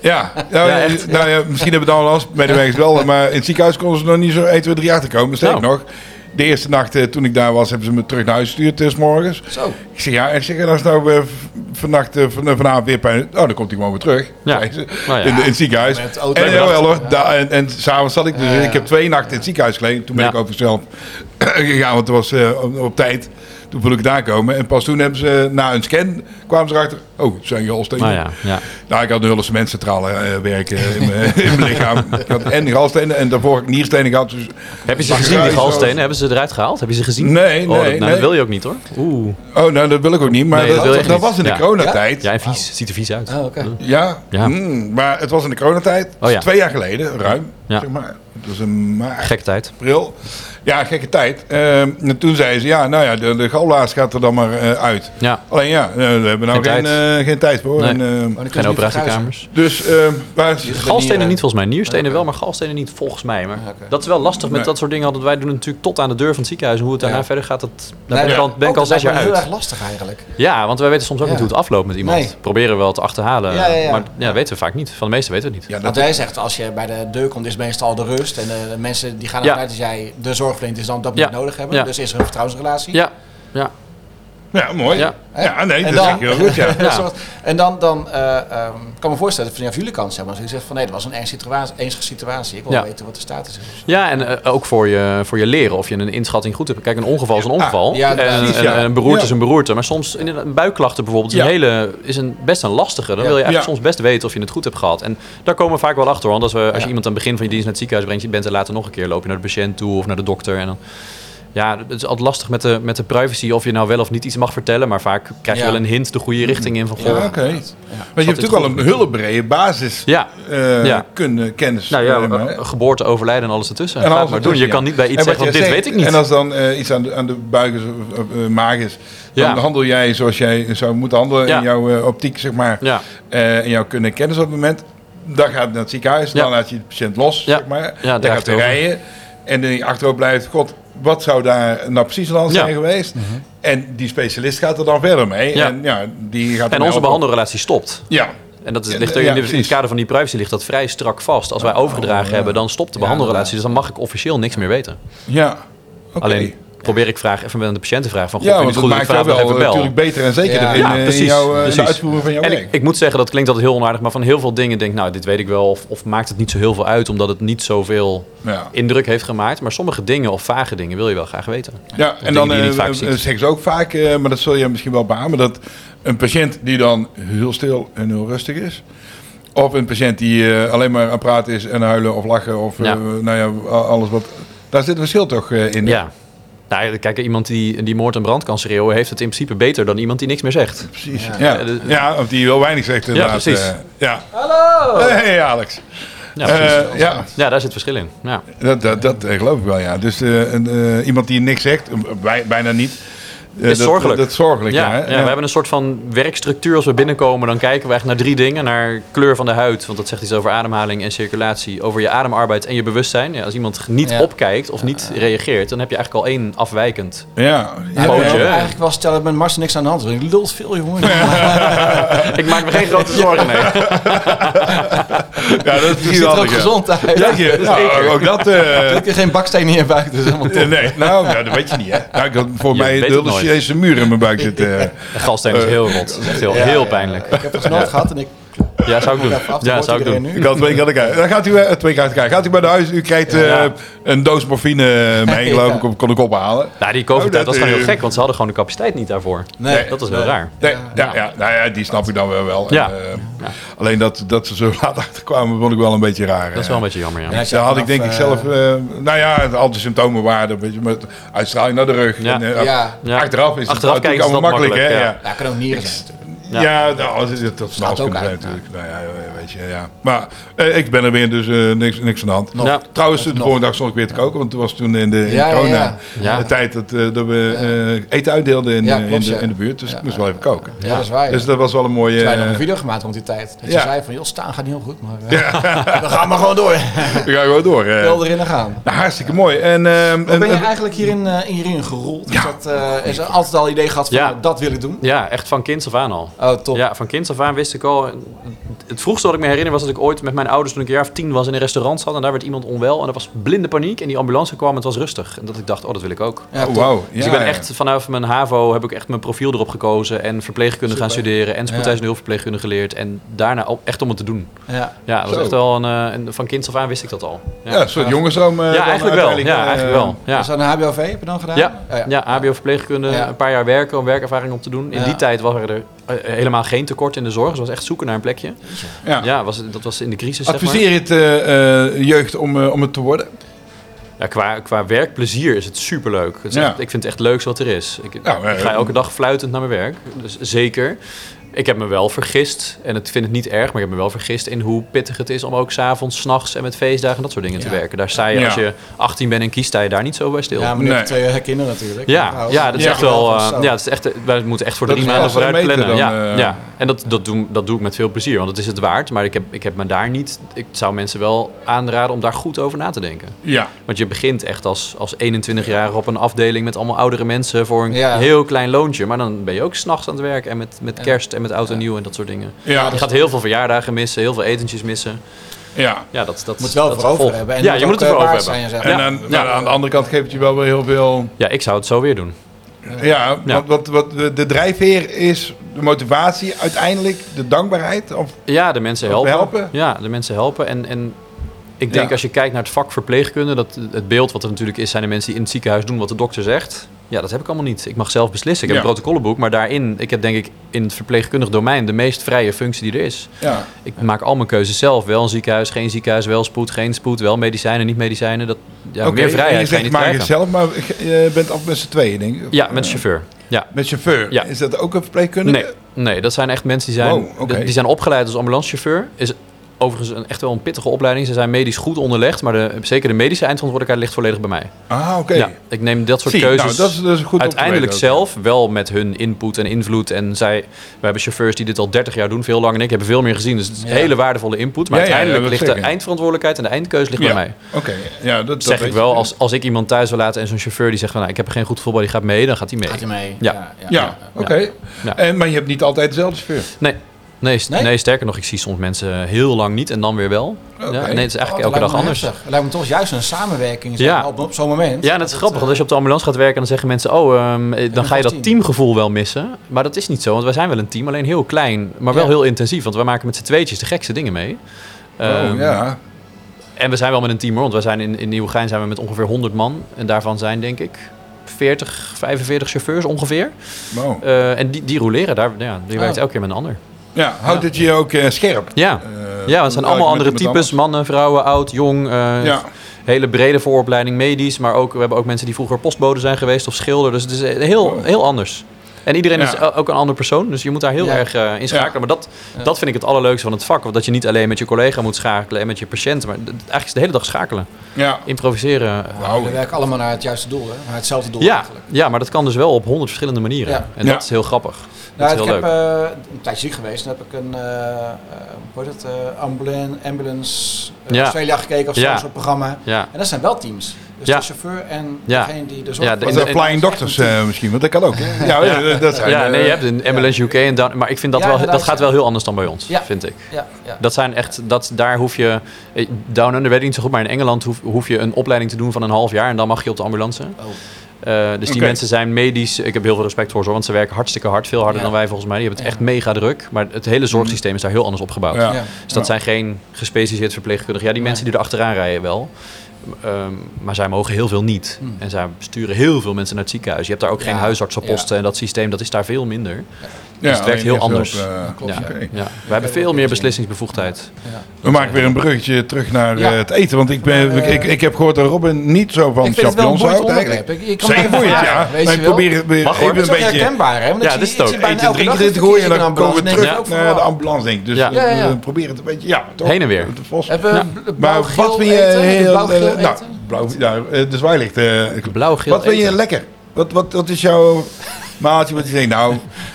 S2: Ja, nou,
S4: Ja,
S2: eh,
S4: echt,
S2: nou ja, misschien hebben we het al als medewerkers wel, maar in het ziekenhuis konden ze nog niet zo 1, 2, 3 achterkomen. Sterker
S4: Nou.
S2: nog, de eerste nacht eh, toen ik daar was, hebben ze me terug naar huis gestuurd, dus morgens.
S3: Zo.
S2: Ik zeg, ja, en zeg, en als nou eh, v- vannacht, eh, van, vanavond weer pijn, oh, dan komt hij gewoon weer terug.
S4: Ja.
S2: Zei ze,
S4: Nou ja.
S2: In, de- in het ziekenhuis.
S3: Met de auto.
S2: en
S4: Lekker
S2: ja, wel hoor, da- en, en s'avonds zat ik, dus
S3: Ja, ja.
S2: ik heb twee nachten in het ziekenhuis gelegen. Toen ben
S4: Ja.
S2: ik over zelf [CLEARS THROAT] gegaan, want het was eh, op, op tijd. Toen voelde ik daar komen. En pas toen hebben ze, eh, na een scan, kwamen ze erachter, oh, het zijn je holstenen.
S4: Nou ja, ja.
S2: Nou, ik had een hulpsementcentrale eh werken in mijn, [LAUGHS] in mijn lichaam. Ik had en galstenen en daarvoor had ik nierstenen gehad. Dus,
S4: Heb je ze
S2: Maar
S4: gezien, die
S2: kruis-
S4: galstenen? Hebben ze eruit gehaald? Heb je ze gezien?
S2: Nee,
S4: Oh, dat,
S2: nee,
S4: nou, dat
S2: nee.
S4: wil je ook niet hoor. Oeh.
S2: oh, nou, dat wil ik ook niet. Maar
S4: Nee, dat
S2: dat,
S4: wil je
S2: dat,
S4: echt niet.
S2: was in de
S4: Ja.
S2: coronatijd.
S4: Ja,
S2: Ja,
S4: en vies. Het ziet er vies uit.
S3: Oh, oké.
S4: Ja.
S2: mm, maar het was in de coronatijd.
S4: Oh, ja.
S2: Twee jaar geleden, ruim.
S4: Ja.
S2: Zeg maar. Het was een maart,
S4: Gekke tijd.
S2: april. Ja, gekke tijd. Ehm, en toen zeiden ze, ja, nou ja, de, de galblaas gaat er dan maar eh, uit.
S4: Ja.
S2: Alleen ja, eh, we hebben nou
S4: Geen
S2: geen,
S4: tijd.
S2: eh, geen tijd voor.
S4: Nee.
S2: En, ehm,
S3: Maar dan
S4: Geen
S3: kunnen ze niet
S4: operatiekamers.
S2: dus, ehm, waar is-
S3: verguizen.
S4: Galstenen niet
S3: Manieren.
S4: volgens mij. Nierstenen wel, maar galstenen niet volgens mij. Maar
S3: eh, Ah, Oké.
S4: dat is wel lastig met
S2: Nee.
S4: dat soort dingen. Want wij doen het natuurlijk tot aan de deur van het ziekenhuis. En hoe het daarna
S3: Ja.
S4: verder gaat, dat, daar
S3: Nee,
S4: ben ik
S3: ja.
S4: al, ben ik
S3: Ook,
S4: al
S3: dat lijkt
S4: zes jaar
S3: me heel erg
S4: uit.
S3: lastig eigenlijk.
S4: Ja, want wij weten soms ook
S3: Ja.
S4: niet hoe het afloopt met iemand.
S3: Nee.
S4: Proberen we wel te achterhalen.
S3: Ja, ja, ja.
S4: Maar ja, weten we vaak niet. Van de meesten weten we het niet.
S2: ja, dat
S3: Want hij zegt, als je bij de deur komt, is meestal de rust. En eh, de mensen die gaan
S4: Ja.
S3: ervan uit dat jij de zorg verleent, is dan dat
S4: Ja.
S3: moet nodig hebben.
S4: Ja.
S3: Dus is er een vertrouwensrelatie.
S4: Ja, ja.
S2: Ja, mooi.
S4: Ja.
S2: Ja, nee,
S3: En
S2: dat
S3: dan-
S2: zeg je
S3: [LAUGHS]
S2: heel goed, ja.
S4: Ja.
S3: Een soort- En dan, dan eh, ehm, ik kan me voorstellen, vanaf jullie kant, zeg maar, als je zegt van nee, dat was een ernstige situatie, ernstige situatie. Ik wil
S4: Ja.
S3: weten wat de status is.
S4: Ja, en eh, ook voor je, voor je leren of je een inschatting goed hebt. Kijk, een ongeval is een ongeval.
S3: ja,
S4: en,
S3: precies,
S4: en-
S2: ja.
S4: en een beroerte
S2: Ja.
S4: is een beroerte. Maar soms, inderdaad, een buikklachten bijvoorbeeld, is,
S2: Ja.
S4: een hele, is een, best een lastige. Dan
S3: Ja.
S4: wil je eigenlijk
S2: Ja.
S4: soms best weten of je het goed hebt gehad. En daar komen we vaak wel achter. Want als, we, als je iemand aan het begin van je dienst naar het ziekenhuis brengt, je bent er later nog een keer, loop je naar de patiënt toe of naar de dokter. En dan, ja, het is altijd lastig met de, met de privacy of je nou wel of niet iets mag vertellen. Maar vaak krijg je
S3: Ja.
S4: wel een hint de goede richting in van goh.
S2: Mm. Ja, oké. Want je hebt
S4: het
S2: natuurlijk wel
S4: goed?
S2: een hele brede basis
S4: Ja.
S2: eh,
S4: Ja.
S2: kunnen, kennis.
S4: Nou
S2: eh,
S4: ja,
S2: maar-
S4: eh, geboorte, overlijden en alles ertussen.
S2: en
S4: Ga het
S2: alles
S4: maar doen. Je
S2: ertussen, ja.
S4: kan niet bij
S2: dus-
S4: iets
S2: En wat
S4: zeggen van
S2: jij
S4: dit
S2: zegt,
S4: weet ik niet.
S2: En als dan eh, iets aan de, aan de buik is, of, of, eh, maag is, dan
S4: Ja.
S2: handel jij zoals jij zou moeten handelen
S4: Ja.
S2: in jouw eh, optiek, zeg maar.
S4: Ja.
S2: eh, en jouw kunnen en kennis op het moment. Dan gaat het naar het ziekenhuis,
S4: Ja.
S2: dan laat je de patiënt los,
S4: Ja.
S2: zeg maar.
S4: Ja,
S2: dan
S4: draagt
S2: gaat hij
S4: over.
S2: rijden. En dan achterop blijft, god, wat zou daar nou precies aan
S4: Ja.
S2: zijn geweest? En die specialist gaat er dan verder mee.
S4: Ja.
S2: En, ja, die gaat hem
S4: En onze
S2: helpen.
S4: behandelrelatie stopt.
S2: Ja,
S4: En dat is-
S2: Ja,
S4: ligt
S2: ja,
S4: er, in, de- in het
S2: precies.
S4: kader van die privacy ligt dat vrij strak vast. Als wij overgedragen hebben, dan stopt de behandelrelatie. Dus dan mag ik officieel niks meer weten.
S2: Ja, oké.
S4: Alleen probeer ik vraag, even aan de patiënt te vragen van...
S2: Ja,
S4: Ja,
S2: want
S4: het
S2: dat
S4: goed dat ik
S2: maakt jou
S4: vanavond nog
S2: wel eh,
S4: even bel?
S2: natuurlijk beter en zeker
S3: Ja.
S2: in,
S4: Ja,
S2: eh, in
S4: precies,
S2: jouw, eh, in
S4: precies.
S2: de uitvoering van jouw
S4: En
S2: werk.
S4: ik, ik moet zeggen, dat klinkt altijd heel onaardig... maar van heel veel dingen denk ik, nou, dit weet ik wel... of, of maakt het niet zo heel veel uit... omdat het niet zoveel
S2: ja.
S4: indruk heeft gemaakt. Maar sommige dingen of vage dingen wil je wel graag weten.
S2: ja, en
S4: dingen
S2: dan
S4: die je niet vaak
S2: eh,
S4: ziet.
S2: zeggen ze ook vaak, eh, maar dat zul je misschien wel beamen, dat een patiënt die dan heel stil en heel rustig is, of een patiënt die eh, alleen maar aan het praten is en huilen of lachen of eh,
S4: Ja.
S2: nou ja, a- alles wat... Daar zit een verschil toch eh, in?
S4: Ja. Nou, kijk, iemand die, die moord en brand kan schreeuwen... heeft het in principe beter dan iemand die niks meer zegt.
S2: Precies. Ja. Ja.
S4: Ja, de-
S2: of die heel weinig zegt inderdaad.
S4: precies.
S2: eh, ja. Hallo! Hey Alex.
S4: Ja, precies.
S2: Eh, ja,
S4: ja, daar zit verschil in. Ja.
S2: dat, dat, dat eh, geloof ik wel, ja. Dus eh, een, eh, iemand die niks zegt, eh, bij- bijna niet. eh,
S4: Is
S2: dat,
S4: zorgelijk.
S2: Dat, is zorgelijk, ja.
S4: Ja,
S2: hè?
S4: ja, we hebben een soort van werkstructuur als we binnenkomen. Dan kijken we echt naar drie dingen. Naar kleur van de huid, want dat zegt iets over ademhaling en circulatie. Over je ademarbeid en je bewustzijn. Ja, als iemand niet
S3: Ja.
S4: opkijkt of niet reageert, dan heb je eigenlijk al één afwijkend. [LAUGHS]
S2: Ja, ja.
S3: Ja,
S4: Pootje,
S3: ik wil
S4: hè?
S3: eigenlijk wel stellen dat met Mars niks aan de hand is. want Die lult veel, jongen.
S4: Ik maak me geen grote zorgen, nee.
S2: Ja, dat is
S3: Je ziet er ook
S2: handig, ja.
S3: gezond uit.
S2: Dank je. Nou, ook
S3: [LAUGHS]
S2: dat... eh,
S3: Ik heb geen baksteen in je buik, dus helemaal top.
S2: eh, nee, nou, ja, dat weet je niet, hè. Nou, ik had voor
S4: Je
S2: mij
S4: weet
S2: de
S4: het
S2: hele
S4: nooit.
S2: Chinese muur in mijn buik zitten. eh.
S4: De galsteen is heel rot. Dat is echt heel,
S3: Ja,
S4: heel
S3: ja,
S4: pijnlijk.
S3: Ik heb het nooit gehad en ik
S4: Ja, zou ik doen.
S3: even af.
S4: Ja, zou ik doen.
S2: Ik had twee keer aan elkaar. Dan gaat u eh, twee keer uit elkaar. Gaat u bij de huis, u krijgt eh,
S4: Ja.
S2: een doos morfine eh,
S4: [LAUGHS]
S2: mee, geloof ik, kon ik ophalen.
S4: Nou, die
S2: Oh,
S4: covid
S2: dat,
S4: was gewoon heel
S2: eh,
S4: gek, want ze hadden gewoon de capaciteit niet daarvoor.
S3: Nee.
S4: Dat is heel raar.
S2: Nee, ja. Ja, nou ja, die snap ik dan wel. wel.
S4: Ja.
S2: En, eh, Alleen dat, dat ze zo [LAUGHS] laat achterkwamen, vond ik wel een beetje raar.
S4: Dat is wel een beetje jammer, ja.
S3: Ja,
S2: Daar had ik denk ik zelf, eh, nou ja, het- al die symptomen waren, een beetje met uitstraling naar de rug.
S4: Ja.
S2: En, eh,
S3: Ja.
S4: Ja.
S2: Achteraf is
S4: Achteraf
S2: het natuurlijk
S4: kijken is dat
S2: allemaal makkelijk, hè?
S4: makkelijk,
S2: Ja.
S4: ja.
S3: Ja, kan ook nieren zijn natuurlijk.
S2: Ja,
S4: Ja.
S2: nou, dat, is- dat
S3: Slaat
S2: zou
S3: ook
S2: kunnen zijn
S3: uit,
S2: natuurlijk. Nou ja, weet je, ja. Maar eh, ik ben er weer, dus eh, niks, niks aan de hand.
S4: Ja.
S2: Trouwens, de volgende dag stond ik weer te koken, want toen was toen in de in
S3: Ja, ja,
S2: corona
S3: ja.
S4: Ja.
S2: de tijd dat, eh, dat we eh, eten uitdeelden in,
S3: Ja,
S2: eh,
S3: klopt,
S2: in, de,
S3: ja.
S2: in de buurt. Dus ik moest wel even koken.
S3: Ja, dat is waar. ja.
S2: Dus dat was wel een mooie...
S3: Wij hebben nog
S2: eh,
S3: een video gemaakt rond die tijd. Dat je
S2: ja.
S3: zei van, joh, staan gaat niet heel goed, maar eh, [LAUGHS] we gaan maar gewoon door.
S2: [LAUGHS] we gaan gewoon door. eh.
S3: Wel erin en gaan.
S2: Nou, hartstikke mooi. En, ehm, en-
S3: Ben je
S2: en-
S3: eigenlijk hierin, eh, hierin gerold? Is dat, eh, is er altijd al idee gehad van,
S4: Ja.
S3: eh, dat wil ik doen?
S4: Ja, echt van kinds af aan al.
S3: Oh, top.
S4: Ja, van kinds af aan wist ik al. Het vroegste wat ik me herinner was dat ik ooit met mijn ouders toen ik een jaar of tien was in een restaurant zat en daar werd iemand onwel en er was blinde paniek en die ambulance kwam en het was rustig. En dat ik dacht, oh dat wil ik ook.
S3: Ja, top.
S2: Wauw.
S4: Dus
S2: ja,
S4: ik ben
S2: ja.
S4: echt vanaf mijn HAVO heb ik echt mijn profiel erop gekozen en verpleegkunde gaan studeren en spoedeisende hulpverpleegkunde geleerd en daarna ook echt om het te doen.
S3: Ja.
S4: Ja, het was
S2: Zo.
S4: echt wel een, eh, een- van kinds af aan wist ik dat al. Ja,
S2: Ja, een soort jongensroom. eh,
S4: Ja,
S2: dan
S4: eigenlijk wel.
S2: uiteindelijk,
S4: Ja,
S2: eh,
S4: eigenlijk wel. Ja.
S3: Dus aan de HBOV heb je dan gedaan?
S4: Ja,
S3: Oh,
S4: ja. HBO verpleegkunde,
S3: Ja.
S4: een paar jaar werken om werkervaring op te doen. In
S3: Ja.
S4: die tijd was er eh, helemaal geen tekort in de zorg. Dus het was echt zoeken naar een plekje.
S2: ja.
S4: Ja, was, dat was in de crisis. Zeg
S2: Adviseer je het eh, eh, jeugd om, eh, om het te worden?
S4: maar. ja, qua, qua werkplezier is het superleuk. Het is
S2: Ja.
S4: echt- ik vind het echt leuk wat er is. Ik,
S2: Nou, eh,
S4: ik ga elke dag fluitend naar mijn werk. Dus zeker. Ik heb me wel vergist. En ik vind het niet erg, maar ik heb me wel vergist in hoe pittig het is om ook s'avonds, s'nachts en met feestdagen en dat soort dingen te werken. Daar sta je
S2: Ja.
S4: als je 18 bent en kiest, sta je daar niet zo bij stil.
S3: Ja,
S4: Ja,
S3: maar nu
S2: Nee.
S3: heb je twee eh, kinderen natuurlijk. Oh,
S4: ja, dat is
S2: Ja.
S4: echt wel. eh,
S3: Zo.
S4: ja, dat is echt, eh, wij moeten echt voor
S2: Dat
S4: drie
S2: is
S4: maanden
S2: wel
S4: vooruit
S2: meter
S4: plannen.
S2: dan,
S4: ja,
S2: eh.
S4: ja. En dat, dat, doen, dat doe ik met veel plezier, want het is het waard. Maar ik heb, ik heb me daar niet. Ik zou mensen wel aanraden om daar goed over na te denken.
S2: Ja.
S4: Want je begint echt als, als 21-jarige op een afdeling met allemaal oudere mensen voor een
S3: Ja.
S4: heel klein loontje. Maar dan ben je ook s'nachts aan het werk en met, met kerst en met oud en nieuw en dat soort dingen.
S2: Ja,
S4: Je gaat heel veel verjaardagen missen, heel veel etentjes missen.
S2: ja.
S4: Ja, dat, dat
S3: Je moet wel
S4: dat
S3: voor over
S4: gevolg.
S3: hebben. En
S4: Ja, je
S3: ook,
S4: moet het
S3: eh,
S4: ervoor over
S3: waard
S4: hebben.
S3: zijn, zeg maar.
S2: En
S4: Ja.
S2: aan, maar aan de andere kant geeft het je wel weer heel veel...
S4: Ja, ik zou het zo weer doen.
S2: Ja,
S4: Ja.
S2: Want, wat, wat de de drijfveer is de motivatie uiteindelijk, de dankbaarheid. Of,
S4: Ja, de mensen
S2: Of
S4: helpen.
S2: helpen?
S4: Ja, de mensen helpen. En, en ik denk
S2: Ja.
S4: als je kijkt naar het vak verpleegkunde, dat het beeld wat er natuurlijk is, zijn de mensen die in het ziekenhuis doen wat de dokter zegt. Ja, dat heb ik allemaal niet. Ik mag zelf beslissen. Ik heb
S2: Ja.
S4: een protocollenboek, maar daarin, ik heb denk ik in het verpleegkundig domein de meest vrije functie die er is.
S2: ja.
S4: Ik maak al mijn keuzes zelf. Wel een ziekenhuis, geen ziekenhuis, wel spoed, geen spoed, wel medicijnen, niet medicijnen. Dat, ja,
S2: Oké,
S4: meer
S2: en
S4: vrijheid
S2: Je
S4: ga je
S2: zegt
S4: niet
S2: maar
S4: krijgen.
S2: jezelf, maar eh, je bent af met z'n tweeën, denk ik.
S4: Ja, met de chauffeur. Ja.
S2: Met chauffeur.
S4: Ja.
S2: Is dat ook een verpleegkundige?
S4: Nee, nee, dat zijn echt mensen die zijn,
S2: Wow, oké.
S4: die zijn opgeleid als ambulancechauffeur. Is overigens een, echt wel een pittige opleiding. Ze zijn medisch goed onderlegd, maar de, zeker de medische eindverantwoordelijkheid ligt volledig bij mij.
S2: Ah, oké.
S4: Ja, ik neem dat soort
S2: Zie,
S4: keuzes
S2: nou, dat is, dat is goed om te
S4: uiteindelijk
S2: weten ook.
S4: zelf, wel met hun input en invloed. En zij, we hebben chauffeurs die dit al 30 jaar doen, veel langer en ik, hebben veel meer gezien. Dus het is hele waardevolle input. Maar
S2: Ja, ja, ja,
S4: uiteindelijk
S2: dat
S4: ligt de
S2: zeker.
S4: eindverantwoordelijkheid en de eindkeuze ligt
S2: Ja.
S4: bij mij.
S2: Oké, ja, dat, dat
S4: Dat zeg
S2: weet
S4: ik wel,
S2: je.
S4: als, als ik iemand thuis wil laten en zo'n chauffeur die zegt van, nou, ik heb er geen goed voetbal, die gaat mee, dan gaat hij mee.
S3: Gaat je mee?
S4: Ja.
S2: Ja,
S3: Oh,
S2: oké.
S4: Ja.
S2: En, maar je hebt niet altijd dezelfde chauffeur.
S4: Nee. Nee, st-
S3: Nee?
S4: nee, sterker nog, ik zie soms mensen heel lang niet en dan weer wel.
S2: Oké.
S4: Ja, nee, het is
S3: Oh,
S4: eigenlijk
S3: dat
S4: elke
S3: lijkt
S4: dag
S3: me
S4: anders.
S3: heftig. Het lijkt me toch juist een samenwerking zeg
S4: Ja.
S3: maar, op, op zo'n moment. eh,
S4: Ja, en het is grappig, want als je op de ambulance gaat werken, dan zeggen mensen: Oh, ehm, eh, dan ga je
S3: vast team.
S4: dat teamgevoel wel missen. Maar dat is niet zo, want wij zijn wel een team, alleen heel klein, maar wel
S3: Ja.
S4: heel intensief. Want wij maken met z'n tweetjes de gekste dingen mee. Ehm,
S2: oh, ja.
S4: En we zijn wel met een team hoor, want wij zijn in, in Nieuwegein zijn we met ongeveer 100 man. En daarvan zijn denk ik 40, 45 chauffeurs ongeveer.
S2: Wow.
S4: Eh, en die, die roleren daar, ja, die
S3: Ah.
S4: werkt elke keer met een ander.
S2: Ja, houdt het je ook eh, scherp?
S4: Ja.
S2: Eh,
S4: Ja, het zijn allemaal
S2: met-
S4: andere
S2: met
S4: types. Mannen, vrouwen, oud, jong. eh,
S2: Ja.
S4: Hele brede vooropleiding medisch. Maar ook, we hebben ook mensen die vroeger postbode zijn geweest of schilder. Dus het is heel,
S2: Wow.
S4: heel anders. En iedereen is
S2: Ja.
S4: o- ook een ander persoon. Dus je moet daar heel
S3: Ja.
S4: erg eh in schakelen.
S2: Ja.
S4: Maar dat, dat vind ik het allerleukste van het vak. Want dat je niet alleen met je collega moet schakelen en met je patiënten. Maar d- eigenlijk is de hele dag schakelen.
S2: Ja.
S4: Improviseren.
S2: Wauw.
S3: We werken allemaal naar het juiste doel, hè? naar hetzelfde doel
S4: Ja,
S3: eigenlijk.
S4: ja, maar dat kan dus wel op honderd verschillende manieren.
S3: Ja.
S4: En
S2: Ja.
S4: dat is heel grappig. Dat
S3: Nou,
S4: is heel
S3: ik
S4: leuk.
S3: heb eh, een tijdje ziek geweest. Dan heb ik een eh, eh, hoe heet het, eh, ambulan- ambulance eh,
S4: Ja.
S3: Australia gekeken of zo,
S4: Ja.
S3: zo'n programma.
S4: ja.
S3: En dat zijn wel teams. Dus
S4: Ja.
S3: de chauffeur en
S4: Ja.
S3: degene die de
S4: Ja,
S3: zorg
S4: de-
S2: Wat
S4: in-
S2: zijn flying doctors eh, misschien, want dat kan ook. hè? Ja,
S4: Ja.
S2: dat zijn...
S4: ja,
S2: eh,
S4: nee, je hebt een Ambulance UK en down, maar ik vind dat
S3: Ja,
S4: wel, dat
S3: inderdaad,
S4: gaat
S3: ja.
S4: wel heel anders dan bij ons,
S3: Ja.
S4: vind ik.
S3: Ja, ja.
S4: Dat zijn echt, dat, daar hoef je, eh, Down Under weet ik niet zo goed, maar in Engeland hoef, hoef je een opleiding te doen van een half jaar en dan mag je op de ambulance.
S3: Oh.
S4: Eh, dus die
S2: Oké.
S4: mensen zijn medisch, ik heb heel veel respect voor ze hoor, want ze werken hartstikke hard, veel harder
S3: Ja.
S4: dan wij volgens mij. Die hebben het
S3: Ja.
S4: echt mega druk, maar het hele zorgsysteem is daar heel anders opgebouwd.
S2: Ja.
S3: Ja.
S4: Dus dat zijn geen gespecialiseerd verpleegkundigen. Ja, die mensen die er achteraan rijden wel. Ehm, maar zij mogen heel veel niet. En zij sturen heel veel mensen naar het ziekenhuis. Je hebt daar ook geen
S3: Hmm. Ja.
S4: huisarts op
S3: Ja.
S4: posten. En dat systeem dat is daar veel minder.
S2: Ja,
S4: het werkt heel
S2: alleen
S4: anders.
S2: eerst wel, eh,
S3: Klopt,
S4: ja.
S2: oké.
S4: Ja. We hebben veel meer beslissingsbevoegdheid.
S3: ja.
S2: We maken weer een bruggetje terug naar
S3: Ja.
S2: eh, het eten. Want ik, ben,
S3: Eh,
S2: ik, ik heb gehoord dat Robin niet zo van
S3: Ik vind het wel een
S2: champignons
S3: boeiend
S2: houdt
S3: onderwerp.
S2: eigenlijk.
S3: Ik, ik kan
S2: Zeker
S3: maar even
S2: boeiend,
S3: vragen,
S2: ja.
S3: Weet
S2: Maar
S3: je
S2: ik
S3: wel.
S2: probeer weer
S4: Mag hoor,
S2: even
S3: Het
S2: een
S3: is ook
S2: beetje...
S3: herkenbaar, hè? Want
S4: Ja,
S3: ik
S4: dit
S3: zie,
S4: is
S3: ik
S4: het
S3: zie
S4: ook.
S3: bijna
S2: Eten,
S3: elke dag
S2: drinken, dit
S3: verkeer ik
S2: gooien en
S3: in een
S2: dan komen
S3: ambulance
S2: we
S3: en denk
S2: terug
S3: ik ook van,
S2: naar de
S3: wow.
S2: ambulance, denk ik. Dus
S4: Ja.
S2: eh,
S3: Ja, ja, ja.
S2: we proberen het een beetje... Ja, toch?
S4: Heen en weer.
S2: Het bos.
S3: Hebben we bl-
S2: Maar
S3: blauw-geel
S2: wat vind je
S3: eten?
S2: heel...
S3: Blauw-geel
S2: eh, nou,
S3: eten?
S2: blauw, nou, eh, de zwaailicht. eh, ik-
S4: Blauw-geel
S2: Wat vind je
S4: eten.
S2: lekker? Wat, wat, wat is jouw maaltje? Wat je denkt, nou,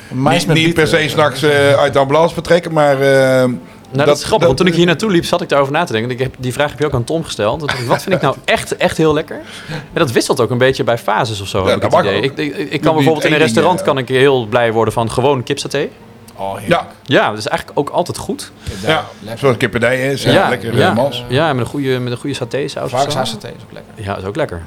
S2: niet, niet per se s'nachts eh uit de ambulance vertrekken, maar... eh,
S4: Nou, dat, is grappig. want toen ik hier naartoe liep, zat ik daarover na te denken. Ik heb, die vraag heb je ook aan Tom gesteld. Toen dacht ik, wat vind
S2: [LAUGHS]
S4: ik nou echt, echt heel lekker? En dat wisselt ook een beetje bij fases of zo,
S2: Ja,
S4: heb ik
S2: dat
S4: het
S2: mag
S4: idee.
S2: ook.
S4: Ik, ik, ik
S2: niet
S4: kan bijvoorbeeld in
S2: één
S4: een
S2: ding,
S4: restaurant
S2: eh,
S4: kan ik heel blij worden van gewoon kipsaté.
S2: Ja,
S4: Ja, dat is eigenlijk ook altijd goed.
S2: ja. zoals kipperdij is. Ja,
S4: Ja,
S2: lekker
S4: ja.
S2: eh, mals.
S4: Ja, met een goede, met een goede satésaus of zo.
S3: Varkenshaas-saté is ook lekker.
S4: Ja, dat is ook lekker.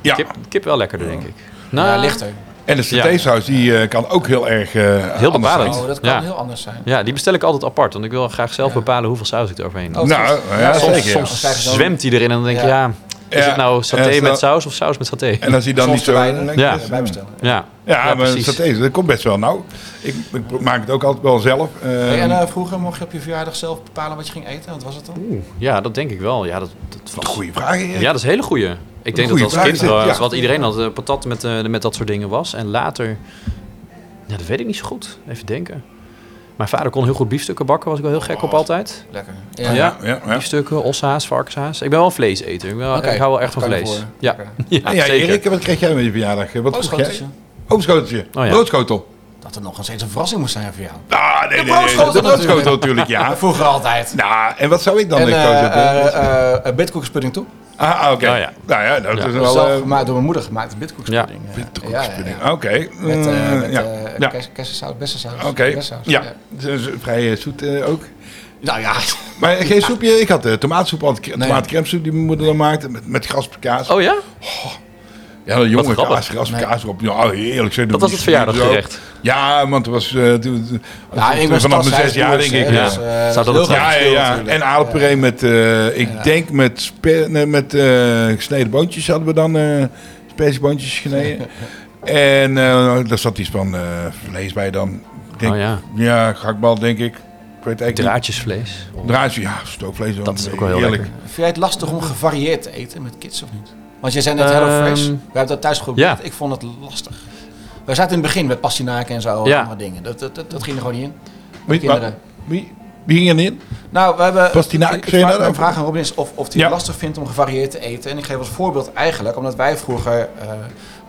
S2: Ja.
S4: Kip, kip wel lekkerder, denk ik. Nou,
S3: Ja, lichter.
S2: En de
S4: Ja.
S2: satésaus die eh, kan ook heel erg eh,
S4: Heel
S2: anders
S4: bepalend.
S2: zijn.
S3: Oh, dat kan
S4: Ja.
S3: heel anders zijn.
S4: Ja, die bestel ik altijd apart, want ik wil graag zelf
S3: Ja.
S4: bepalen hoeveel saus ik eroverheen doe.
S3: Oh,
S2: Nou,
S3: goed.
S2: ja,
S3: Ja,
S2: zeker.
S4: soms soms
S3: Dan krijg je zo'n-
S4: zwemt die erin en dan denk je, ja,
S3: Ja.
S4: is
S2: Ja.
S4: het nou
S2: En
S4: saté
S2: als dat-
S4: met saus of saus met saté?
S2: En als hij dan
S3: Soms
S2: niet zo
S3: te weinig. eh,
S2: lekker
S4: Ja.
S2: is,
S3: Bij
S2: dan-
S3: bestellen.
S4: Ja.
S2: Ja,
S4: Ja,
S2: maar
S4: precies.
S2: saté, dat komt best wel nauw. Ik, ik maak het ook altijd wel zelf. eh,
S3: Hey, en eh, vroeger mocht je op je verjaardag zelf bepalen wat je ging eten. Wat was het dan?
S4: Oeh, ja, dat denk ik wel. Ja, dat, dat was...
S2: goeie vraag. eh.
S4: ja, dat is een hele goeie. Ik denk
S2: goeie
S4: dat als
S2: vraag
S4: kind
S2: is dit,
S4: was
S2: ja.
S4: wat iedereen had, eh, patat met, eh, met dat soort dingen was. En later, ja, dat weet ik niet zo goed. Even denken. Mijn vader kon heel goed biefstukken bakken, was ik wel heel gek op altijd.
S3: Lekker.
S4: Ja,
S2: Ja, ja, ja.
S4: biefstukken, oshaas, varkenshaas. Ik ben wel een vleeseter. Ik, ben wel-
S3: Oké,
S4: ik hou wel echt van
S3: kan je
S4: vlees.
S3: voor.
S4: Ja,
S3: Lekker.
S4: [LAUGHS] ja,
S2: ja,
S4: zeker.
S2: Erik, wat kreeg jij met je verjaardag? Eh, Wat
S3: Oh,
S2: kreeg
S3: schoteltje.
S2: jij? Oogschoteltje.
S4: Oh, ja.
S2: Broodschotel.
S3: Dat er nog eens een verrassing moest zijn voor jou.
S2: Ah, nee, nee, nee.
S3: broodschotel
S2: de broodschotel
S3: natuurlijk.
S2: natuurlijk,
S3: [LAUGHS]
S2: ja.
S3: Vroeger altijd.
S2: Nou, en wat zou ik dan
S3: en
S2: eh,
S3: eh
S2: gekozen hebben?
S3: eh, eh, eh, bitkoekspudding toe.
S2: Ah, ah, oké.
S4: Nou ja.
S2: Nou ja, dat
S4: Ja.
S2: is
S3: Zelf
S2: wel... eh,
S3: gemaakt door mijn moeder gemaakt. Bitkoekspudding. Ja.
S2: Bitterkoekspudding.
S3: ja, ja.
S2: Oké.
S3: Met, eh
S2: eh,
S3: met
S2: ja.
S3: eh,
S2: Ja.
S3: kers- kersensaus, bessensaus.
S2: Oké,
S3: bessensaus,
S2: ja. Dus Vrij eh, zoet eh, ook.
S3: Nou
S2: [LAUGHS]
S3: ja.
S2: Maar geen soepje. Ik had eh, tomaatsoep, had cre-
S3: Nee.
S2: tomaatcremesoep die mijn moeder dan maakte met, met graspkaas.
S4: Oh ja?
S2: Ja, dat jonge
S4: grappig.
S2: kaas, graspkaas erop. Ja, heerlijk. Zo,
S4: Dat was het verjaardaggerecht.
S2: Ja, want het was eh, toen- toen-
S3: Nou, ik was
S2: vanaf mijn
S3: stadshuis
S2: zes jaar
S3: broers,
S2: denk ik.
S3: hè,
S2: Ja,
S3: dus,
S4: Ja.
S3: eh,
S4: Zou dat
S3: heel
S4: het
S3: groot
S4: zijn?
S2: ja, ja.
S3: verschil
S2: ja.
S3: natuurlijk.
S2: En aardappuree met, eh, ik denk met, spe- nee, met eh, gesneden boontjes hadden we dan eh
S4: [LAUGHS]
S2: spesboontjes gesneden. en eh, daar zat iets van eh, vlees bij dan. Ik Denk,
S4: Oh ja.
S2: Ja, gehaktbal denk ik. Ik weet eigenlijk niet.
S4: Draadjesvlees.
S2: Draadje, ja, stoofvlees.
S4: Dat is ook wel heel lekker.
S3: Vind jij het lastig om gevarieerd te eten met kids of niet? Want jij zei net Hello
S4: Ehm,
S3: Fresh. We hebben dat thuis geprobeerd.
S4: ja.
S3: Ik vond het lastig. We zaten in het begin met pastinaken en zo.
S4: Ja.
S3: Ja. dingen. Dat, dat, dat, dat ging er gewoon niet in.
S2: Wie,
S3: Kinderen.
S2: wie, wie ging erin?
S3: Nou, we hebben.
S2: Pastinaak,
S3: ik,
S2: zei je nou
S3: vraag,
S2: dat?
S3: mijn vraag aan Robin is of, of hij
S2: Ja.
S3: het lastig vindt om gevarieerd te eten. En ik geef als voorbeeld eigenlijk, omdat wij vroeger, eh,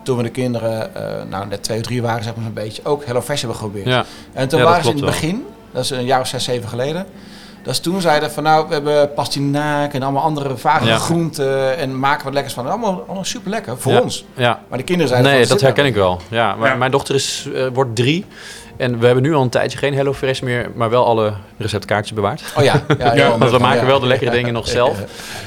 S3: toen we de kinderen eh, nou, net twee of drie waren, zeg maar een beetje, ook Hello Fresh hebben geprobeerd.
S4: Ja.
S3: En toen
S4: Ja, dat
S3: waren ze in het
S4: klopt wel.
S3: begin, dat is een jaar of zes, zeven geleden. Dat is toen zeiden van nou, we hebben pastinaak en allemaal andere vage
S4: Ja.
S3: groenten en maken wat lekkers van. Allemaal, allemaal super lekker voor
S4: Ja.
S3: ons.
S4: Ja.
S3: Maar de kinderen zeiden
S4: Nee,
S3: van,
S4: dat
S3: zit
S4: herken
S3: nou
S4: ik wel. Ja, maar
S2: Ja.
S4: mijn dochter is, eh, wordt drie. En we hebben nu al een tijdje geen HelloFresh meer, maar wel alle receptkaartjes bewaard.
S3: mee? Oh ja, ja,
S4: [LAUGHS]
S2: Ja,
S3: ja,
S4: Want we
S3: ja.
S4: maken wel de lekkere
S3: Ja.
S4: dingen
S3: [LAUGHS]
S4: nog zelf.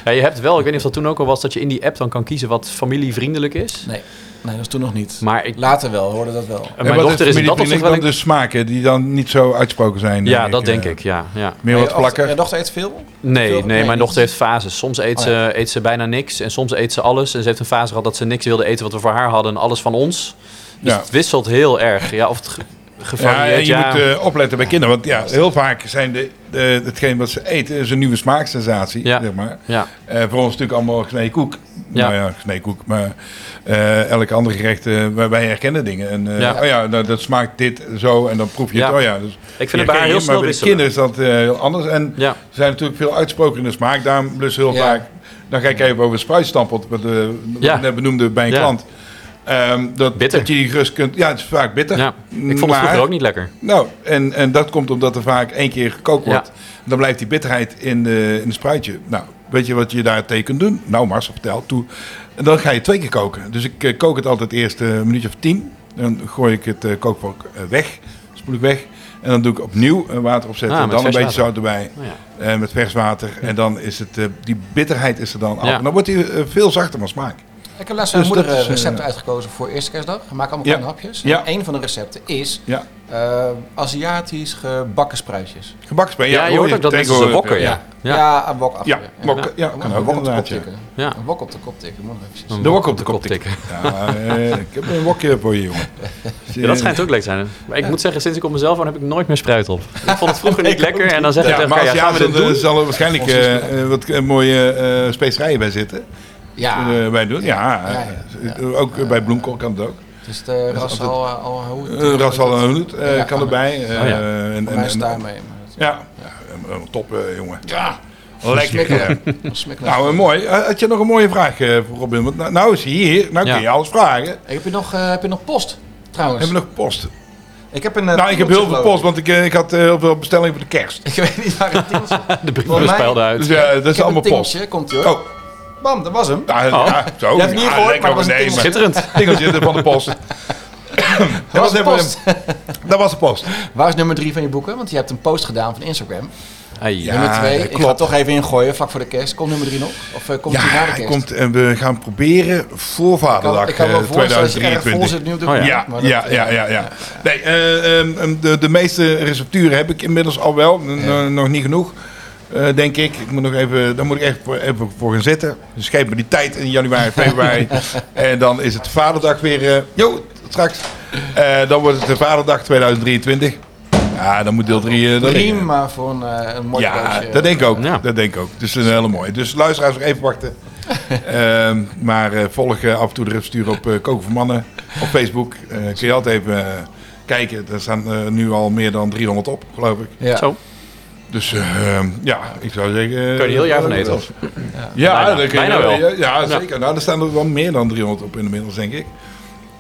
S4: Ja, je hebt wel, ik weet niet of dat toen ook al was, dat je in die app dan kan kiezen wat familievriendelijk is.
S3: Nee, nee, dat was toen nog niet.
S4: Maar ik,
S3: Later wel, hoorde dat wel.
S4: mijn dochter is in dat opzicht wel...
S2: dan
S4: een-
S2: de smaken die dan niet zo uitsproken zijn.
S4: Ja, dat denk
S2: eh.
S4: ik, ja. ja.
S2: Meer wat plakker.
S3: Je dochter eet veel?
S4: Nee,
S3: Veel-
S4: nee, mijn
S3: niet.
S4: dochter heeft fases. Soms eet,
S3: Oh,
S4: ze, eet ze bijna niks en soms eet ze alles. En ze heeft een fase gehad dat ze niks wilde eten wat we voor haar hadden en alles van ons. Dus
S2: Ja.
S4: het wisselt heel erg. Ja, of het, ge-
S2: Ja, en
S4: gevarieerd.
S2: je
S4: Ja,
S2: moet eh, opletten bij kinderen. Want ja, heel vaak zijn de, de, hetgeen wat ze eten is een nieuwe smaaksensatie.
S4: Ja.
S2: Zeg maar.
S4: ja.
S2: Eh, voor ons natuurlijk allemaal gesneden koek.
S4: Ja.
S2: Nou ja, gesneden koek. Maar eh elk ander gerecht, eh, wij, wij herkennen dingen. En, eh,
S4: Ja.
S2: Oh ja, nou, dat smaakt dit zo en dan proef je
S4: Ja.
S2: het. Oh ja, dus
S4: Ik vind het bij haar heel
S2: maar
S4: snel
S2: bij de
S4: wisselen.
S2: kinderen is dat eh, heel anders. En
S4: Ja.
S2: ze zijn natuurlijk veel uitsproken in de smaak. Daarom plus heel
S3: Ja.
S2: vaak... Dan ga ik even over spruitstampot, wat, eh, wat
S4: Ja.
S2: ik net benoemde bij een
S4: Ja.
S2: klant. Ehm, dat,
S4: Bitter.
S2: dat je die gerust kunt... Ja, het is vaak bitter.
S4: ja. Ik vond het
S2: Maar-
S4: vroeger ook niet lekker.
S2: nou, en, en dat komt omdat er vaak één keer gekookt
S4: Ja.
S2: wordt. Dan blijft die bitterheid in de, in de spruitje. Nou, weet je wat je daar tegen kunt doen? Nou, Mars, vertel toe. En dan ga je twee keer koken. Dus ik eh, kook het altijd eerst eh, een minuutje of tien. Dan gooi ik het eh, kookvork eh, weg, spoel ik weg. En dan doe ik opnieuw eh, water opzetten.
S4: Ah,
S2: en
S4: met
S2: dan een
S4: vers
S2: beetje
S4: water.
S2: zout erbij.
S4: Nou ja.
S2: eh, met vers water. En dan is het, eh, die bitterheid is er dan af.
S4: Ja.
S2: En dan wordt hij eh, veel zachter van smaak.
S3: Ik heb laatst mijn
S2: Dus
S3: moeder
S2: dat
S3: eh,
S2: is, eh,
S3: recepten uitgekozen voor eerste kerstdag. We maken allemaal
S2: Ja.
S3: kleine hapjes.
S2: Ja.
S3: En een van de recepten is
S2: Ja.
S3: eh, Aziatisch gebakken spruitjes.
S2: Gebakspijn.
S4: Ja, je hoort ook dat
S2: tegen
S4: mensen ze
S2: horen.
S4: wokken. Ja.
S3: Ja,
S4: Ja.
S3: een wok achter.
S2: Ja,
S3: je.
S2: mokken. Ja,
S3: Dan
S2: kan
S3: moet
S2: ook
S3: een wok op de kop
S2: inderdaad. ja.
S3: tikken.
S4: Ja.
S3: Een wok op de kop tikken. Moet nog eventjes.
S4: Een
S2: De
S4: wok
S2: wok op de kop tikken. Ja, eh, ik heb een wokje voor je, jongen.
S4: Ja, dat schijnt ook leuk te zijn. Maar ik moet zeggen, sinds ik op mezelf woon heb ik nooit meer spruit op. Ik vond het vroeger
S2: [LAUGHS]
S4: niet lekker en dan zeg ik
S2: Ja,
S4: tegen
S2: maar
S4: elkaar,
S2: als
S4: ja,
S2: je
S4: gaan we
S2: aanzet,
S4: dit
S2: dan
S4: doen?
S2: zal er waarschijnlijk eh, eh, wat eh, mooie eh, specerijen bij zitten.
S3: Ja,
S2: Eh, bij doen. Ja,
S3: Ja,
S2: eh, ook eh, bij bloemkool kan het ook.
S3: dus de ras al al hoe-
S2: Uh, Rasal en Hoed eh,
S3: Ja,
S2: kan erbij. eh,
S4: Oh ja.
S2: en- en-
S3: Voor mij is
S2: en-
S3: het daarmee. maar het-
S2: Ja, Ja, eh, top eh, jongen.
S3: Ja,
S2: Lekker. eh.
S3: dat is smekkelijk.
S2: Nou, eh, mooi. Eh, Had je nog een mooie vraag eh, voor Robin? Want nou, nou is hij hier. Nou
S4: Ja.
S2: kun je alles vragen.
S3: Heb je nog, eh, heb je nog post? Trouwens.
S2: Hebben we nog post?
S3: Ik heb een. eh,
S2: Nou, ik heb heel veel post, want ik, eh, ik had eh, heel veel bestellingen voor de kerst.
S3: Ik [LAUGHS] weet niet waar het tingeltje. Ik
S4: [LAUGHS] De brieven
S3: mij-
S4: speelden uit.
S2: Dus ja, dat is
S3: heb
S2: allemaal
S3: een
S2: post.
S3: tingeltje, komt ie hoor.
S2: Oh,
S3: Bam, dat was hem.
S2: Ja, Ah, ja, zo.
S3: Oh. Je hebt niet
S2: Ja,
S3: gehoord,
S2: lekker
S3: maar dat was een
S2: nee,
S3: tingeltje.
S4: Schitterend.
S2: Tingeltje van de post.
S3: Dat was de
S2: even-
S3: post.
S2: [LAUGHS] Dat was de post.
S3: Waar is nummer drie van je boeken? Want je hebt een post gedaan van Instagram.
S4: Ai,
S2: Ja.
S3: nummer twee, ik
S2: klopt.
S3: ga het toch even ingooien vlak voor de kerst. Komt nummer drie nog? Of eh, komt die na
S2: Ja,
S3: de
S2: hij
S3: kerst?
S2: komt en we gaan proberen voor
S3: ik, kan,
S2: Vaderdag
S3: ik kan me wel
S2: eh,
S3: voorstellen dat je erg vol
S2: 2023.
S3: zit nu op de
S4: Oh ja.
S2: Ja,
S3: maar dat,
S2: ja,
S3: eh,
S2: ja, ja, ja. Nee, eh, ehm, ehm, de, de meeste recepturen heb ik inmiddels al wel. N- n- Nog niet genoeg, eh, denk ik. ik moet nog even, daar moet ik echt voor, even voor gaan zitten. Dus geef me die tijd in januari,
S3: [LAUGHS]
S2: februari. en dan is het Vaderdag weer... eh, jo, straks. Eh, dan wordt het de Vaderdag 2023. Ja, dan moet deel eh, 3...
S3: Prima voor een, eh, een mooi
S2: Ja,
S3: doosje.
S2: dat denk ik ook.
S4: Ja.
S2: Dat denk ik ook. Dus dat is een hele mooie. Dus luisteraars, nog even wachten.
S3: [LAUGHS]
S2: Ehm, maar eh, volg eh, af en toe de rupstuur op eh Koken voor Mannen op Facebook. Eh, kun je altijd even eh, kijken. Er staan eh, nu al meer dan 300 op, geloof ik.
S3: Ja.
S4: Zo,
S2: Dus eh, ja, ik zou zeggen... eh,
S4: kun je heel jaar van
S2: eh,
S4: eten.
S2: Ja,
S4: Bijna.
S2: dat kun je-
S4: Bijna wel.
S2: Ja, ja, zeker. Nou, er staan er wel meer dan 300 op inmiddels, denk ik.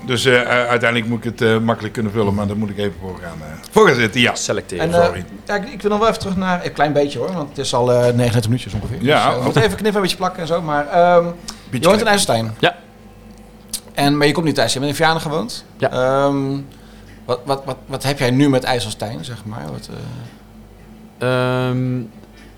S2: Dus eh, eh, uiteindelijk moet ik het eh, makkelijk kunnen vullen, maar daar moet ik even voor gaan, eh, voor gaan zitten. Ja,
S4: Selecteren.
S3: En, eh,
S2: sorry.
S3: ja, ik, ik wil nog wel even terug naar... Een klein beetje hoor, want het is al eh 39 minuutjes ongeveer.
S2: Ja,
S3: Dus, eh, we
S2: oh.
S3: moeten even knippen, een beetje plakken en zo. Maar ehm je woont in IJsselstein.
S4: Ja.
S3: En, maar je komt niet thuis, je bent in Vianen gewoond.
S4: Ja.
S3: Ehm, wat, wat, wat, wat heb jij nu met IJsselstein, zeg maar? Wat, eh,
S4: Ehm, nou,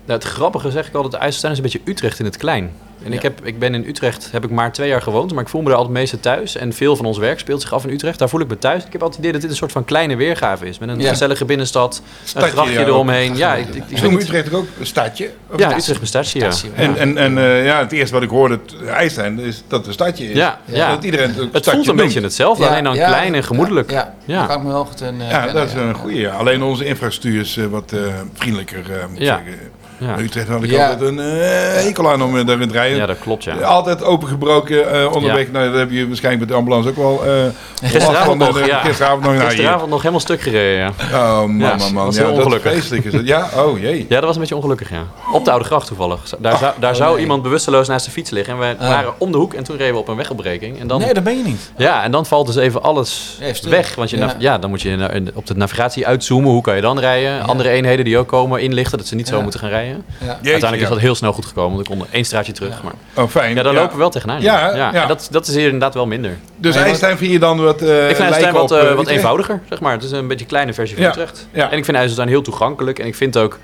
S4: het grappige zeg ik altijd, IJsselstein is een beetje Utrecht in het klein. En ik, heb, ik ben in Utrecht, heb ik maar twee jaar gewoond, maar ik voel me daar altijd het meeste thuis. En veel van ons werk speelt zich af in Utrecht. Daar voel ik me thuis. Ik heb altijd het idee dat dit een soort van kleine weergave is. Met een
S3: Ja.
S4: gezellige binnenstad, een
S2: Stadje,
S4: grachtje
S2: ja.
S4: eromheen. Ja, ik, ik, ik
S2: Is
S4: weet niet.
S2: Utrecht ook een stadje? Of
S4: ja Utrecht is een stadje, ja.
S3: tasje?
S2: En, en, en eh, ja, het eerste wat ik hoorde, het IJsland, is dat het een stadje is.
S4: Ja, ja.
S2: Dat iedereen het,
S4: Het voelt een beetje hetzelfde, alleen dan
S3: ja,
S4: klein en gemoedelijk.
S3: Ja, ja.
S4: Ja.
S3: Daar kan ik me wel goed in. eh,
S2: Ja, dat is
S3: kennen,
S2: een goede. Ja. Alleen onze infrastructuur is eh, wat eh, vriendelijker, eh, moet ik
S4: Ja.
S2: zeggen.
S4: Ja.
S2: Maar Utrecht had ik
S3: Ja.
S2: altijd een eh hekel aan om eh, daarin te rijden.
S4: Ja, dat klopt, ja.
S2: Altijd opengebroken eh, onderweg.
S4: Ja.
S2: Nou, dat heb je waarschijnlijk met de ambulance ook wel. eh, last van,
S4: [LAUGHS] Gisteravond nog,
S2: eh,
S4: ja.
S2: Gisteravond nog. nou, hier.
S4: Gisteravond nog helemaal stuk gereden, ja.
S2: Oh, man,
S4: Ja,
S2: man, man.
S4: was
S2: Ja,
S4: heel
S2: dat
S4: ongelukkig.
S2: Feestelijk is het. Ja, oh jee.
S4: Ja, dat was een beetje ongelukkig, ja. Op de Oude Gracht toevallig. Daar zou, daar zou
S3: Oh, nee.
S4: iemand bewusteloos naast de fiets liggen. En we
S3: Ah.
S4: waren om de hoek en toen reden we op een wegopbreking. En dan,
S3: Nee, dat ben je niet.
S4: ja, en dan valt dus even alles
S3: Even stil.
S4: weg. Want je
S3: Ja.
S4: nav- ja, dan moet je na- in- op de navigatie uitzoomen. Hoe kan je dan rijden? Andere eenheden die ook komen inlichten dat ze niet
S3: Ja.
S4: zo moeten gaan rijden.
S3: Ja.
S4: Uiteindelijk is
S2: Jeetje,
S4: dat heel snel goed gekomen. Want we konden één straatje terug.
S3: Ja.
S4: Maar,
S2: ja. Oh, fijn.
S4: ja, daar lopen we wel tegenaan.
S2: Ja,
S4: ja.
S2: ja.
S4: En dat, dat is hier inderdaad wel minder.
S2: Dus
S3: Nee, maar-
S2: IJsland vind je dan wat eh
S4: Ik vind
S2: lijken
S4: IJsselstein wat,
S2: op,
S4: eh,
S2: eh,
S4: wat
S2: Utrecht?
S4: eenvoudiger, zeg maar. Het is een beetje een kleine versie van
S2: Ja,
S4: Utrecht.
S2: ja.
S4: En ik vind IJsselstein heel toegankelijk. En ik vind ook...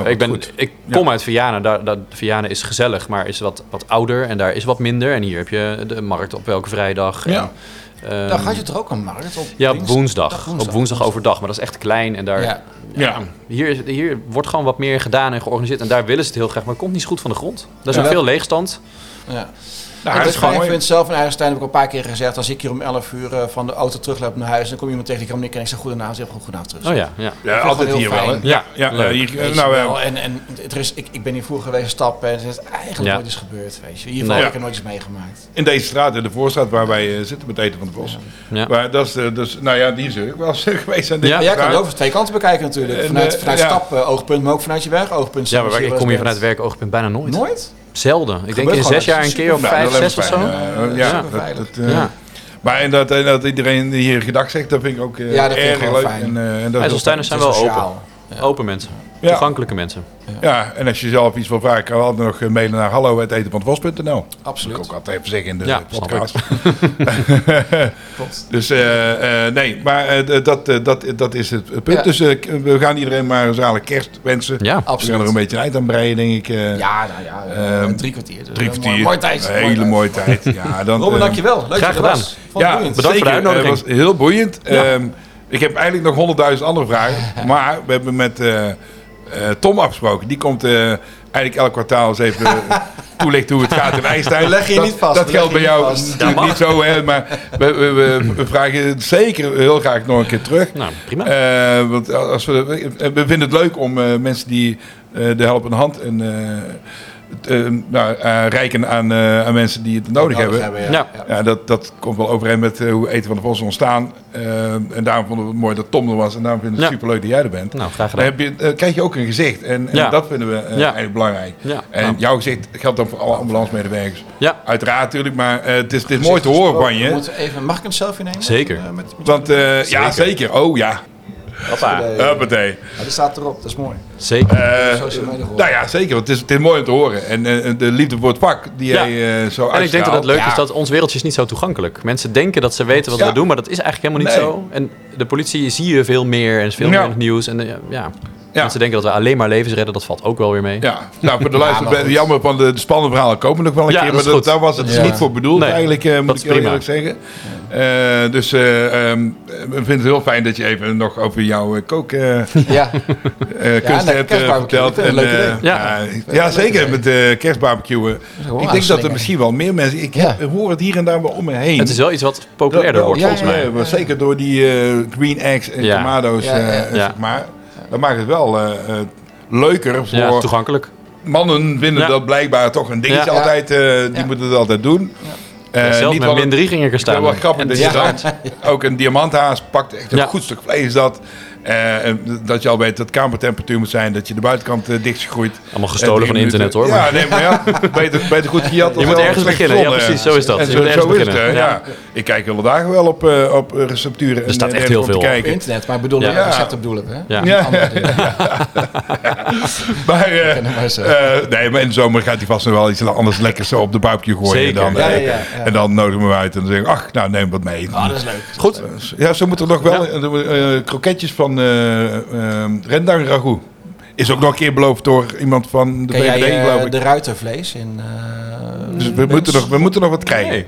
S2: Oh,
S4: ik, ben,
S2: goed.
S4: ik
S2: Ja.
S4: kom uit Vianen. Daar, daar, Vianen is gezellig, maar is wat, wat ouder. En daar is wat minder. En hier heb je de markt op elke vrijdag.
S2: Ja.
S4: En, ehm,
S3: Daar had je toch ook een markt op?
S4: ja, op
S3: dienst-
S4: woensdag.
S3: dag,
S4: Op woensdag overdag. Maar dat is echt klein. En daar,
S3: Ja.
S2: Ja.
S4: hier, is- hier wordt gewoon wat meer gedaan en georganiseerd. En daar willen ze het heel graag. Maar het komt niet zo goed van de grond. Daar is
S2: Ja,
S4: ook
S2: dat-
S4: veel leegstand.
S3: Ja.
S2: Nou,
S3: ik
S2: dat is gewoon
S3: ik
S2: mooi.
S3: vind zelf in Eigenstein, heb ik al een paar keer gezegd, als ik hier om 11 uur eh, van de auto terugloop naar huis, dan kom iemand tegen die kan ik en ik zeg goedenavond, zeg gewoon goedenavond terug.
S4: Oh ja, ja.
S2: Ja,
S3: vind
S2: altijd
S3: het
S2: hier
S3: heel
S2: wel. hè?
S3: fijn.
S4: Ja,
S2: Ja,
S4: leuk.
S2: eh, hier, eh,
S3: Weet je
S2: nou, eh,
S3: wel, en en het- er is, ik, ik ben hier vroeger geweest stappen en het is eigenlijk
S4: Ja.
S3: nooit eens gebeurd. Weet je. In ieder geval
S4: Nee.
S3: heb ik er nooit eens meegemaakt.
S2: in deze straat, in de voorstraat waar wij eh, zitten met Eten van het Bos.
S4: Ja.
S2: Maar dat is, eh, dus, nou ja, die is er ook wel [LAUGHS] eens geweest. aan deze
S4: Ja,
S3: Maar jij kan
S2: straat.
S3: het ook van twee kanten bekijken natuurlijk.
S2: En,
S3: Vanuit,
S2: eh,
S3: vanuit
S2: ja.
S3: stappen oogpunt, maar ook vanuit je weg oogpunt.
S4: Ja, maar
S3: zoals
S4: ik
S3: wel
S4: kom hier
S3: eens
S4: vanuit
S3: bent.
S4: werkoogpunt bijna nooit.
S3: Nooit?
S4: Zelden. Ik denk
S3: Gebeurt
S4: in
S3: gewoon,
S4: zes jaar
S3: dat
S4: een
S3: is
S4: keer of
S2: Nou,
S4: vijf,
S2: dat is
S4: zes of zo.
S2: fijn. Eh, ja,
S4: Ja.
S2: dat, dat, eh,
S4: Ja.
S2: Maar en dat, en dat iedereen die hier gedag zegt, dat vind ik ook eh,
S3: Ja, dat vind ik
S2: erg
S3: wel
S2: leuk.
S3: fijn.
S2: En, eh, en dat is
S4: IJsselsteiners zijn
S3: Het
S4: wel
S3: is
S4: open.
S3: sociaal.
S4: Open mensen.
S2: Ja.
S4: Toegankelijke mensen.
S2: Ja, en als je zelf iets wil vragen, kan je altijd nog eh, mailen naar hallo.etenwantwas.nl. Dat kan
S3: Absoluut.
S2: ik ook altijd even zeggen in de
S4: Ja,
S2: podcast. [LAUGHS]
S3: Klopt.
S2: dus eh, eh, nee, maar eh, d- dat, eh, dat, dat is het punt.
S3: Ja.
S2: Dus eh, k- we gaan iedereen maar een zalig kerst wensen.
S4: Ja.
S2: We gaan er een
S3: Absoluut.
S2: beetje uit aan breien, denk ik. eh,
S3: Ja, nou ja, eh,
S2: Ehm,
S3: drie kwartier. Dus
S2: Drie
S3: een
S2: kwartier.
S3: Mooi, mooi tijd.
S2: Een hele
S3: mooi.
S2: mooie tijd. Ja, dan,
S3: tijd. Robin,
S2: eh,
S3: dankjewel. Leuk
S4: Graag
S3: dat je er was.
S4: gedaan.
S3: Vond het boeiend.
S4: bedankt. voor de
S2: zeker.
S4: uitnodiging.
S2: Het was heel boeiend. Ehm, ik heb eigenlijk nog honderdduizend andere vragen. Maar we hebben met eh, eh, Tom afgesproken. Die komt eh, eigenlijk elk kwartaal eens even eh, toelichten hoe het gaat in IJsselstein.
S3: Leg je
S2: dat,
S3: niet vast,
S2: Dat
S3: leg
S2: geldt
S3: je
S2: bij
S3: niet
S2: jou
S3: vast.
S2: natuurlijk niet zo. Hè, maar we, we, we- we vragen het zeker heel graag nog een keer terug.
S4: Nou, prima.
S2: Eh, want als we, we vinden het leuk om eh, mensen die eh, de helpende hand en, eh, t- eh, nou, eh, reiken aan, eh, aan mensen die het nodig hebben.
S4: Ja.
S2: Ja, dat, dat komt wel overeen met eh, hoe Eten van de Bos is ontstaan. Eh, en daarom vonden we het mooi dat Tom er was. En daarom vinden we het
S4: Ja.
S2: superleuk dat jij er bent.
S4: Nou, graag
S2: Dan
S4: gedaan.
S2: heb je, eh, krijg je ook een gezicht. En, en
S4: Ja.
S2: dat vinden we eh,
S4: Ja.
S2: eigenlijk belangrijk.
S4: Ja.
S2: En
S4: Nou.
S2: jouw gezicht geldt dan voor alle ambulancemedewerkers.
S4: Ja,
S2: Uiteraard natuurlijk, maar eh, het is, het is mooi te horen van je.
S3: Moeten we even, mag ik een selfie nemen?
S4: Zeker.
S3: Eh, met, met
S2: Want eh, ja, zeker. Oh ja.
S4: papa.
S3: Ja,
S2: Huppatee.
S3: die staat erop, dat is mooi.
S4: Zeker.
S2: Eh,
S3: Social media gehoord.
S2: nou ja, zeker. Want het is, het is mooi om te horen. En eh, de liefde voor het vak die
S4: Ja.
S2: jij eh, zo uitstraalt.
S4: En ik denk dat het leuk
S2: Ja.
S4: is dat ons wereldje is niet zo toegankelijk. Mensen denken dat ze weten wat
S2: Ja.
S4: we doen, maar dat is eigenlijk helemaal niet zo. En de politie zie je veel meer en is veel
S2: Ja.
S4: meer in het nieuws. En eh, ja, mensen denken dat we alleen maar levens redden, dat valt ook wel weer mee.
S2: Ja, nou voor de
S3: maar
S2: luisteraar,
S3: goed.
S2: jammer van de, de spannende verhalen komen nog wel een
S4: Ja,
S2: keer. Maar
S4: dat is
S2: dat,
S4: goed.
S2: daar was het dus
S3: Ja.
S2: niet voor bedoeld
S4: Nee,
S2: eigenlijk, eh,
S4: dat
S2: moet
S4: is
S2: ik heel
S4: prima.
S2: eerlijk zeggen. Eh, dus eh, ehm, we vinden het heel fijn dat je even nog over jouw eh, kook kookkunst
S3: [LAUGHS] Ja, nee,
S2: hebt eh,
S3: kerstbarbecue, ik vind
S2: verteld.
S3: het een
S2: En,
S3: leuk
S2: eh,
S3: idee.
S2: ja,
S4: Ja.
S2: ja, zeker met eh kerstbarbecuen.
S3: gewoon
S2: Ik denk dat er
S3: aanslingen.
S2: misschien wel meer mensen... Ik
S3: Ja.
S2: heb- hoor het hier en daar wel om me heen.
S4: Het is wel iets wat populairder
S2: Dat-
S4: wordt,
S2: ja,
S4: volgens
S2: ja,
S4: mij.
S2: ja, maar zeker door die eh, green eggs en
S4: Ja.
S2: tomato's.
S3: Ja, ja,
S2: eh,
S3: ja.
S2: Zeg maar. Dat maakt het wel... eh, eh, Leuker voor eh,
S4: Ja, toegankelijk.
S2: mannen vinden
S4: Ja.
S2: dat blijkbaar toch een dingetje
S4: Ja.
S2: altijd. eh, die
S3: Ja.
S2: moeten het altijd doen. Eh,
S4: Zelfs
S2: niet
S4: met
S2: wel een-
S4: min 3 ging ik er
S2: wel
S4: staan.
S2: wel grappig dat je
S3: Ja.
S2: dan ook een diamanthaas pakt. Echt een
S4: Ja.
S2: goed stuk vlees dat. Eh, en dat je al weet dat kamertemperatuur moet zijn. Dat je de buitenkant eh, dichtgegroeid.
S4: Allemaal gestolen
S2: En
S4: van
S2: drie
S4: internet hoor.
S2: minuten-
S4: maar-
S2: Ja, nee, maar
S4: [LAUGHS]
S2: ja, beter, beter goed gejat. dan
S4: Je moet
S2: wel
S4: ergens
S2: slecht
S4: beginnen. Ja,
S2: gevonden.
S4: precies, zo is dat.
S2: En
S4: Je
S2: zo,
S4: moet ergens
S2: zo is het.
S4: beginnen.
S2: hè,
S4: Ja.
S2: ja. Ik kijk hele dagen wel op, eh, op recepturen. en,
S4: staat
S2: eh,
S4: echt
S2: dergelijke
S4: heel
S2: om te
S4: veel op.
S2: kijken.
S3: internet, maar ik bedoel, eh,
S4: Ja.
S3: ja. recept bedoel ik, hè?
S4: Ja.
S2: [LAUGHS] Ja.
S3: Andere dingen.
S2: Maar, eh,
S3: Kennen wij ze.
S2: eh, nee, maar in de zomer gaat hij vast nog wel iets anders lekkers zo op de barbecue gooien.
S4: Zeker.
S2: En dan,
S3: Ja,
S2: eh,
S3: ja, ja, ja.
S2: En dan nodigen we hem uit en dan zeggen we, ach, nou neem wat mee. Eh,
S3: Ah, dat is leuk.
S4: Goed.
S2: Ja, zo moeten er nog wel
S4: Ja.
S2: eh, eh, kroketjes van eh eh, rendang ragout. Is ook nog een keer beloofd door iemand van de
S3: Ken jij
S2: BVD,
S3: eh,
S2: geloof ik.
S3: de ruitervlees in... eh,
S2: Dus we moeten, nog, we moeten nog wat krijgen.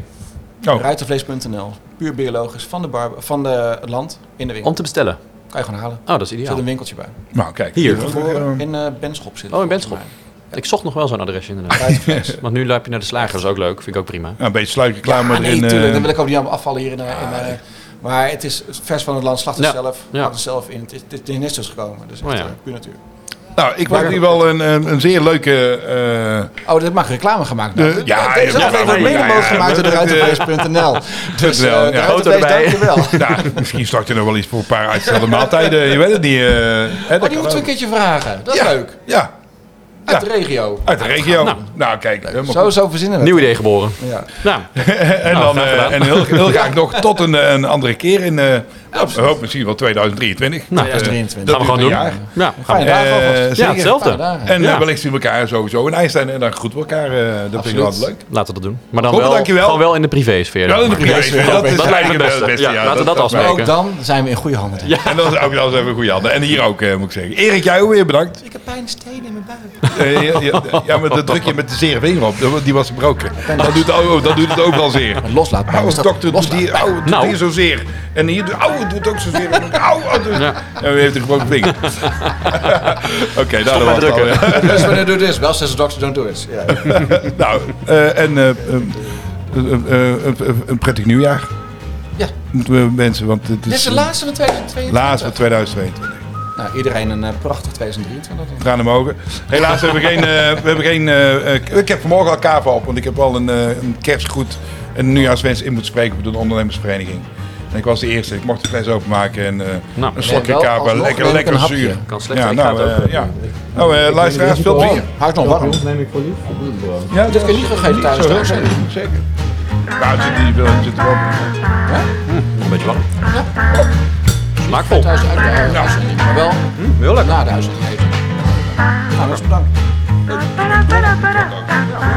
S2: Oh,
S3: Ruitervlees.nl, puur biologisch, van, de bar, van de, het land, in de winkel.
S4: Om te bestellen.
S3: Kan je gewoon halen. Er
S4: Oh, dat is
S3: zit
S4: ideaal.
S3: een winkeltje bij.
S2: nou kijk.
S4: Hier.
S2: Eh,
S3: In eh Benschop zit het,
S4: Oh,
S3: volgens
S4: in Benschop.
S3: mij.
S4: Ik zocht nog wel zo'n adres inderdaad.
S2: [LAUGHS]
S3: Ruitervlees.
S4: Want nu loop je naar de slager, dat is ook leuk. Vind ik ook prima.
S2: nou, een beetje sluikreclame
S3: Ah, nee,
S2: erin. eh,
S3: tuurlijk. Dan wil ik ook niet allemaal afvallen hier. In, eh, in, eh, maar het is vers van het land. Slacht het
S4: Ah, Ja,
S3: zelf.
S4: ja.
S3: Maakt het zelf in. Het is, het is net zoals gekomen. Dus echt
S4: Oh ja.
S3: eh, puur natuur.
S2: nou, ik maak hier wel een, een, een zeer leuke... eh,
S3: Oh, dat mag reclame gemaakt nou,
S2: De-
S3: worden.
S2: Eh, ja, ja,
S3: deze
S2: ja,
S3: aflevering
S2: ja,
S3: wordt mede
S2: ja,
S3: mogelijk
S2: ja,
S3: gemaakt door de
S2: dat, eh, [LAUGHS]
S3: ruitenvlees.nl. Dus eh,
S2: wel, ja.
S3: de
S4: Foto
S3: ruitenvlees,
S2: [LAUGHS]
S4: erbij.
S3: dankjewel. Oh,
S2: Nou, misschien start je nog wel iets voor een paar uitgestelde maaltijden. Je weet het niet. eh, hè, dat kan
S3: Oh, die moeten we een
S2: ook.
S3: keertje vragen. Dat is
S2: ja,
S3: leuk.
S2: Ja,
S3: Uit
S2: Ja.
S3: de regio.
S2: uit de regio. Nou, kijk. helemaal
S3: Zo,
S2: goed.
S3: zo verzinnen we
S4: Nieuw idee geboren.
S3: het. Ja.
S4: Nou,
S2: En, dan,
S4: Nou, graag
S2: eh,
S4: gedaan.
S2: en heel,
S3: [LAUGHS]
S2: heel graag nog tot een, eh, een andere keer in... eh ik hoop misschien wel 2023.
S4: Nou,
S2: eh,
S3: 2023.
S2: dat
S4: gaan we gewoon
S2: duurt
S4: doen.
S2: een jaar.
S4: Ja, gaan we.
S3: Fijne dagen
S2: Eh,
S3: alvast.
S2: zeker.
S4: Ja, hetzelfde.
S3: Fijne dagen.
S2: En eh,
S4: Ja.
S2: wellicht zien we elkaar sowieso in IJsland en dan goed voor elkaar. eh, dat vind ik wel
S3: Absoluut.
S2: leuk.
S4: Laten we dat doen. Maar dan
S2: Robert,
S4: wel,
S2: dankjewel.
S4: gewoon wel in de privésfeer.
S2: Wel in de
S4: Maar-
S2: privé. Dat is
S4: Dat lijkt me
S2: eigenlijk
S4: het
S2: wel het beste.
S4: beste. Ja, laten we dat
S2: is
S3: Maar
S2: wel.
S4: afspreken.
S3: ook dan zijn we in goede handen. denk ik.
S2: En dat is ook wel eens even een goede handen. En hier ook, eh, moet ik zeggen. Erik, jij ook weer bedankt.
S3: Ik heb pijn stenen in mijn buik. [LAUGHS]
S2: Eh, ja, ja, ja, maar dat druk je met de zere vinger op. Die was gebroken. Dat doet, oh, dat doet het ook wel zeer.
S3: [LAUGHS] Loslaat.
S2: Oude dokter doet
S3: loslaat.
S2: die, oude doet
S4: Nou.
S2: die zozeer. En hier doet, oude doet ook zozeer. En
S3: [LAUGHS]
S2: ook oude doet-
S4: Ja.
S2: En u heeft een gebroken vinger. Oké, nou,
S4: met
S2: dat was het
S4: drukken.
S2: al. [LAUGHS]
S3: Dus wanneer doe this? Wel says the doctor, don't do it. Ja.
S2: Nou, eh, en eh, eh, eh, eh, eh, eh, een prettig nieuwjaar.
S3: Ja.
S2: Moeten we wensen, want het is...
S3: Dit is de
S2: eh,
S3: laatste van 2022.
S2: laatste van 2022.
S3: Nou, iedereen een eh, prachtig 2023.
S2: Tranen mogen. Helaas hebben we geen... eh, we hebben geen eh, eh, ik heb vanmorgen al kava op, want ik heb al een, eh, een kerstgoed en een nieuwjaarswens in moeten spreken voor de ondernemersvereniging. En ik was de eerste. Ik mocht de fles openmaken en eh,
S4: Nou,
S2: een slokje
S3: wel,
S2: kava.
S3: alsnog neem
S2: Lekker,
S3: ik
S2: lekker
S3: een hapje.
S2: zuur.
S4: Kan slechter, ik
S2: nou,
S4: ga het
S2: eh,
S4: ook
S2: ja. Nou, eh, luisteraars, veel plezier.
S3: Houdt nog warm.
S5: neem ik voor lief. Ik bedoel, bro.
S2: Ja,
S3: Dit kun je niet gegeven thuis
S2: Zo heel
S3: thuis.
S2: zeker. Zeker. Nou, het zit niet veel, het zit er wel.
S4: Een beetje warm. Smaakvol.
S3: Thuis uit de huis. Maar wel
S4: Heel lekker.
S3: na de huis gegeven. Nou, dat is bedankt.
S6: Para, para, para, para.